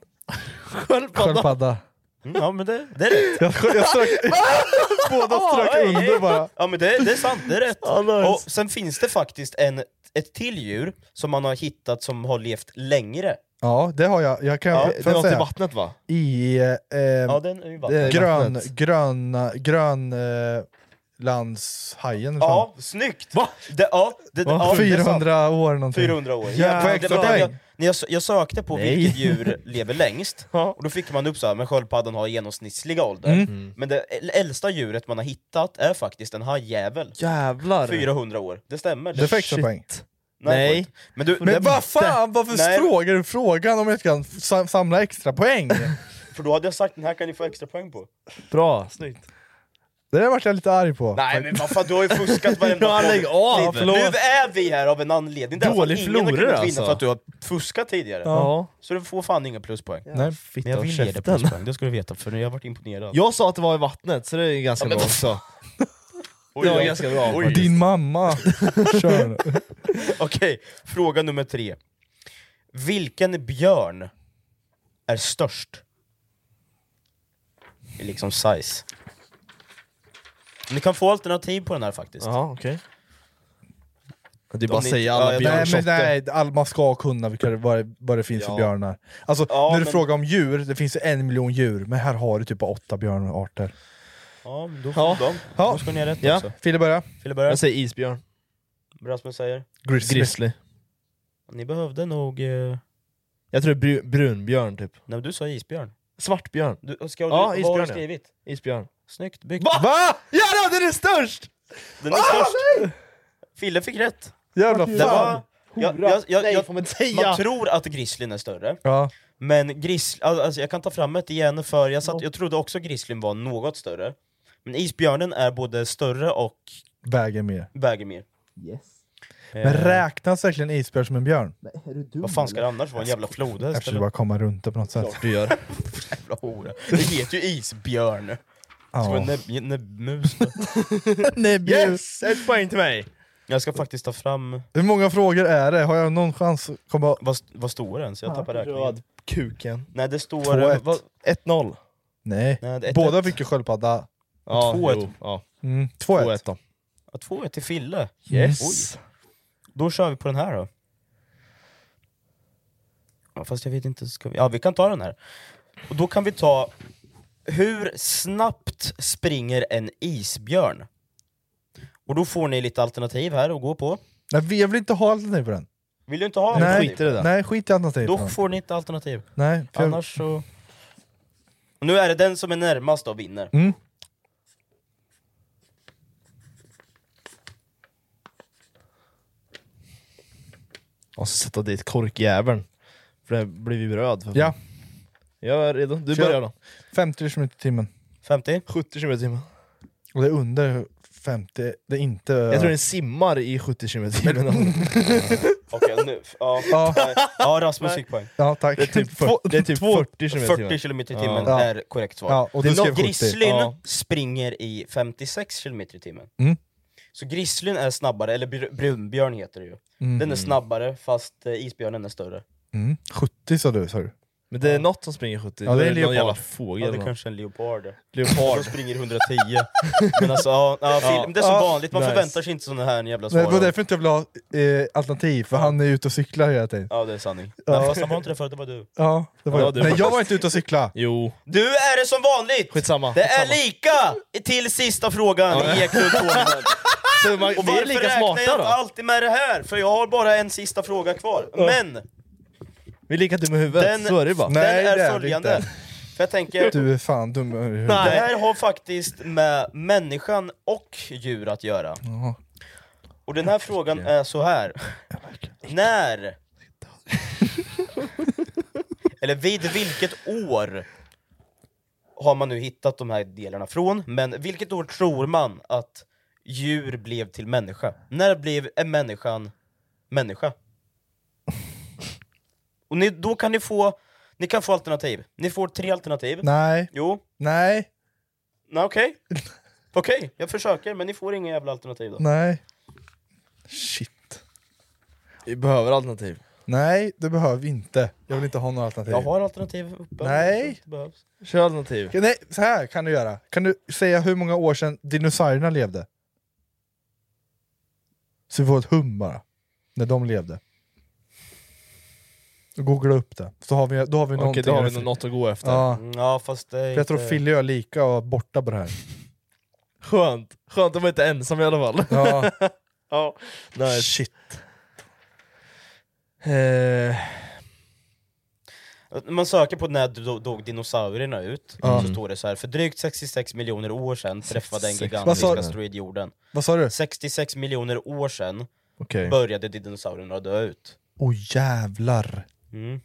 Sköldpadda. Mm, ja, men det, det är rätt. Jag, jag strök, [LAUGHS] båda strök under bara. Ja men det, det är sant, det är rätt. Och sen finns det faktiskt en, ett till djur som man har hittat som har levt längre. Ja, det har jag. Jag kan, Ja, får det jag var till säga? vattnet, va? I eh, Ja, den är ju vattnet. eh, Det är grön, vattnet. gröna, grön eh, landshajen. fan. Ja, snyggt! Det, ja, det, Va? ja, det är sant. 400 år någonting. 400 år. Ja, på det extra var det jag, poäng. när jag, s- jag sökte på Nej. vilket djur lever [LAUGHS] längst, och då fick man upp så här, men sköldpaddan har genomsnittliga ålder. Mm. Men det äl- äldsta djuret man har hittat är faktiskt en hajjävel. Jävlar! 400 år, det stämmer. Det får extra Shit. poäng. Nej. Nej. det får inte. Men, du, Men vad fan, varför Nej, frågar du frågan om jag kan f- sam- samla extra [LAUGHS] poäng? För då hade jag sagt den här kan ni få extra poäng på. Bra, snyggt. Det där vart jag lite arg på. Nej men vad fan, du har ju [LAUGHS] fuskat varenda Ja, lägg av, gång. Nu förlåt. är vi här av en anledning, det är för att Dålig ingen har kunnat förlorare, vinna alltså. för att du har fuskat tidigare. Ja. Så du får fan inga pluspoäng. Nej, men jag håll vill ge dig käften. pluspoäng, det ska du veta, för jag har varit imponerad. Jag sa att det var i vattnet, så det är ganska bra alltså. också. [LAUGHS] Oj, det var oj. ganska bra. Oj. faktiskt. Din mamma. Kör nu. Okej, fråga nummer tre. Vilken björn är störst? Det är Liksom size. Ni kan få alternativ på den här faktiskt. Ja, okej. Det är bara att säga alla nej, men, björnsorter. nej, all- man ska kunna vilka, det- vad, det- vad det finns för Ja. björnar. Alltså, Ja, när du men- frågar om djur, det finns en miljon djur, men här har du typ bara åtta björnarter. Ja, men då får ja. de. Då ska ni ha rätt Ja. också. Fille börja. Fille börjar. Jag säger isbjörn. Rasmus säger? Grizzly. Ni behövde nog... Eh... Nej, Jag tror det är bru- brunbjörn typ. men du sa isbjörn. Svartbjörn. Du, och ska du, Ja, vad har du isbjörn, ja. skrivit? Isbjörn. Snyggt byggt. Va? Va? Ja, den är störst! Ah! Den är störst! Fille fick rätt. Jävla Det fan. Jag, jag, jag, Nej, jag, får man säga. man tror att grizzlyn är större, Ja. men gris, alltså jag kan ta fram ett igen för jag, satt, jag trodde också grizzlyn var något större. Men isbjörnen är både större och Väger mer. väger mer. Yes. Men Eh. räknas verkligen isbjörn som en björn? Nej, är du dum Vad fan ska det eller? annars vara? En jävla Jag flodhäst? försöker eller? bara komma runt det på något sätt. Klart [LAUGHS] du gör. jävla hora. Det heter ju isbjörn. Ja. Som en näbb- näbbmus. [LAUGHS] Näbbmus. Yes! Ett poäng till mig! Jag ska faktiskt ta fram... Hur många frågor är det? Har jag någon chans att komma... Vad, vad står den? Så jag tappar räkningen. Röd kuken. Nej det står... 2-1. vad- 1-0. Nej. Nej, det är ett- Båda fick ju sköldpadda. Ja, Två ett. jo, ja. Mm, 2-1. då. Ja, 2-1 till Fille. Yes. Oj. Då kör vi på den här då. Ja, fast jag vet inte, ska vi... Ja vi kan ta den här. Och då kan vi ta... Hur snabbt springer en isbjörn? Och då får ni lite alternativ här att gå på. Nej, vi- jag vill inte ha alternativ på den. Vill du inte ha Nej, alternativ? Nej, skit i alternativ på Då den. får ni inte alternativ. Nej, för jag- Annars så... Och nu är det den som är närmast då vinner. Mm. Och så sätta dit korkjäveln. För det blir vi röd. för fan. Ja. Jag är redo. Du Kör. börjar då. 50 km i timmen. 50? 70 km i timmen. Och det är under 50, det är inte... Jag tror den simmar i 70 km i timmen. Okej, nu... Ja, Ja. nej. ja Rasmus fick poäng. Ja, tack. Det är typ Två- fyrt- det är typ två- 40 km i timmen. 40 km i timmen Ja. är korrekt svar. Ja, och Det du är skrev något- 70. Grizzlyn Ja. springer i 56 km i timmen. Mm. Så grizzlyn är snabbare, eller br- brunbjörn heter det ju. Mm. Den är snabbare fast eh, isbjörnen är större. Mm. 70 sa du, sa du. [LAUGHS] Men det är något som springer 70. Ja, det Då är någon leopard. jävla fågel. Ja, eller det något. kanske är en leopard. Leopard. Som springer 110. Men alltså, ja, ja, Ja. Fil- det är som Ja, vanligt, man nice. förväntar sig inte sådana här jävla svar. Nej, det var därför inte jag ville ha eh, alternativ, för han är ute och cyklar hela tiden. Ja det är sanning. Ja. Nej, fast han var inte det förut, det var du. Ja, det var Ja, jag. du- Nej, jag var inte ute och cykla. Jo. Du är det som vanligt! Skitsamma. Det är skitsamma. lika till sista frågan Ja, i E ja. Eklund Tornberg. Så man, Och vi är varför lika räknar jag smarta inte då? alltid med det här? För jag har bara en sista fråga kvar. Men Vi är lika dumma i huvudet, den, så är det ju bara. den är, följande. För jag tänker, Du är fan dum i huvudet. det här har faktiskt med människan och djur att göra. Jaha. Och den här frågan är så här. När? [LAUGHS] Eller vid vilket år har man nu hittat de här delarna från? Men vilket år tror man att djur blev till människa? När blev en människan människa? [LAUGHS] Och ni, då kan ni få, ni kan få alternativ. Ni får tre alternativ. Nej, Jo, nej, nej okej. Okej, jag försöker men ni får inga jävla alternativ då. nej. Shit. Vi behöver alternativ. Nej, det behöver vi inte. Jag vill inte ha några alternativ. Jag har alternativ uppe. Nej. Det behövs. Kör alternativ. Nej, så här kan du göra. Kan du säga hur många år sedan dinosaurierna levde? Så vi får ett hum bara. När de levde. Googla upp det. Så har vi, då har vi Okej, någonting. då har vi refer- något att gå efter. Ja. Mm, Ja fast det är För jag tror inte- Fille och jag är lika och borta på det här. Skönt. Skönt att vara inte ensam i alla [LAUGHS] fall. Ja. ja. Nice. Shit. Eh, När man söker på när do- dog dinosaurierna ut, Ja. så står det så här för drygt 66 miljoner år sedan träffade en 66. Vad gigantisk sa du? asteroid jorden. Vad sa du? 66 miljoner år sedan Okej. började dinosaurierna dö ut. Åh jävlar. Mm.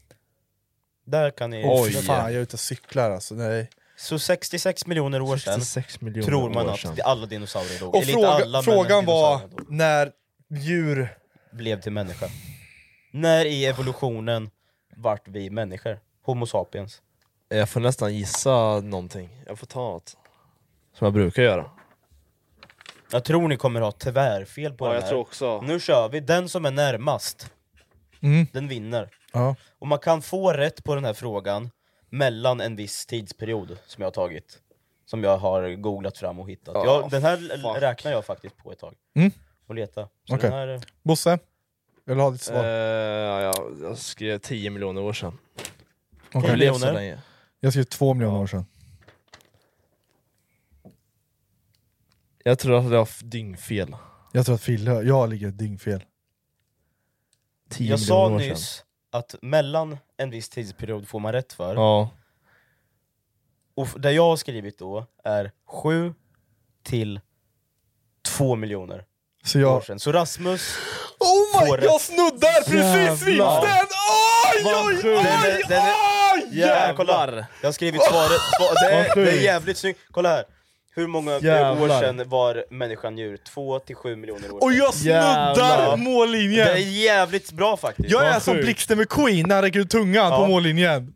Där kan ni... Oj. Fan, jag är ute och cyklar alltså. Nej. Så 66 miljoner år sedan 66 miljoner tror man år att sedan. alla dinosaurier dog. Och Eller inte fråga, alla, men frågan var dinosaurierna dog. när djur... Blev till människa. När i evolutionen vart vi människor? Homo sapiens. jag får nästan gissa någonting. Jag får ta något. Som jag brukar göra. Jag tror ni kommer ha tvärfel på Ja, den jag här. tror också. Nu kör vi, den som är närmast, Mm. den vinner. Ja. Och man kan få rätt på den här frågan mellan en viss tidsperiod som jag har tagit. Som jag har googlat fram och hittat. Ja, jag, den här l- fuck. räknar jag faktiskt på ett tag. Mm. och leta. Så Okej. den här, Bosse? Jag vill ha ditt svar. Eh, ja, jag skrev 10 miljoner år sedan. Okej. Jag blev så länge. Jag skrev två miljoner år sedan. Jag tror att det var f- dyngfel. Jag tror att Fille, jag ligger dyngfel. 10 jag sa miljoner år sedan. nyss att mellan en viss tidsperiod får man rätt för. Ja. Och f- det jag har skrivit då är 7 till 2 miljoner Så jag- år sedan. Så Rasmus Oh får my, jag rätt. snuddar precis vinsten! Jävlar. Oj, Vad oj, sjukt. Den är- oj, den är- oj! Jävlar! kolla. Jag har skrivit svaret, [LAUGHS] svar, det, Vad är, sjukt. det är jävligt snyggt. Kolla här. Hur många år Jävlar. sedan var människan djur? 2 till 7 miljoner år Och jag sedan. snuddar Jävlar. mållinjen. Det är jävligt bra faktiskt. Jag är alltså- som blixten med Queen när han räcker ut tungan på mållinjen.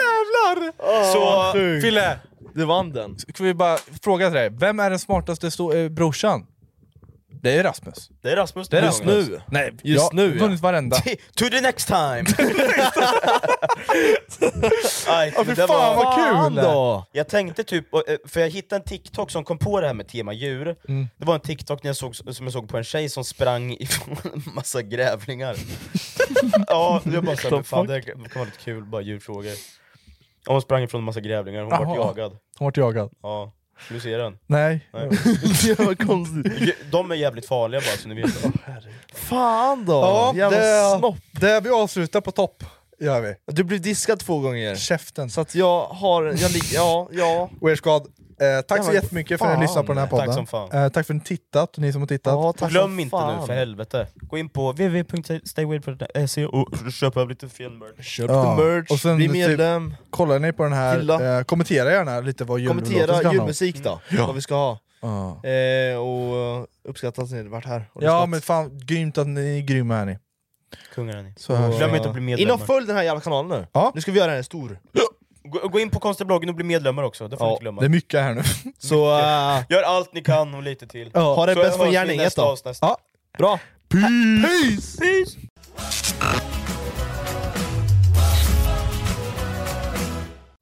Jävlar! Så- Fille, Du vann den. ska vi bara fråga till dig. Vem är den smartaste sto- eh, brorsan? Det är Rasmus. Det är Rasmus. Det är Just Rasmus. nu. Nej, Just jag nu, ja. vunnit varenda. To the next time! [LAUGHS] Aj, Ja, fy fan, vad kul! Mm. Jag tänkte typ, och, eh, för jag hittade en TikTok som kom på det här med tema djur Mm. Det var en TikTok när jag såg, som jag såg på en tjej som sprang ifrån [LAUGHS] en [LAUGHS] massa grävlingar Ja, jag bara såhär, men fan det här kan vara lite kul, bara djurfrågor ja, Hon sprang ifrån en massa grävlingar, hon Jaha. vart jagad Hon vart jagad. Ja, vill du se den? Nej. det var konstigt De är jävligt farliga bara så ni vet Fan då! Ja, Jävla det- snopp. Det vi avslutar på topp, gör vi. Du blev diskad två gånger. Käften. Så att jag har... Jag lig- ja, ja. Weird Squad, eh, tack så Jävlar, jättemycket för att ni fan. lyssnade på den här Tack podden. som fan. Eh, tack för att ni tittat, ni som har tittat. Alltså, Glöm inte nu för helvete, gå in på www.stayweird.se och köp över lite fin merch Köp Ja, och sen typ, Kollar ni på den Gilla. här, eh, kommentera gärna lite vad jullåten ska handla Kommentera om. julmusik då, Ja. vad vi ska ha. Ja. Eh, och eh, uppskatta att ni varit här. Och Ja lyssnat. men fan, grymt att ni är grymma är ni. Kungar är ni. Så hörs Glöm vi. inte att bli In medlemmar. och följ den här jävla kanalen nu. Ja. Nu ska vi göra den här stor. Gå, gå in på konstbloggen och bli medlemmar också, det får ni inte glömma. eh, Det är mycket [LAUGHS] här nu. Så äh, Gör allt ni kan och lite till. Ja. Så Ha det bäst hörs på vi i gärninget nästa då. avsnitt. Ja. Bra. Peace! Peace.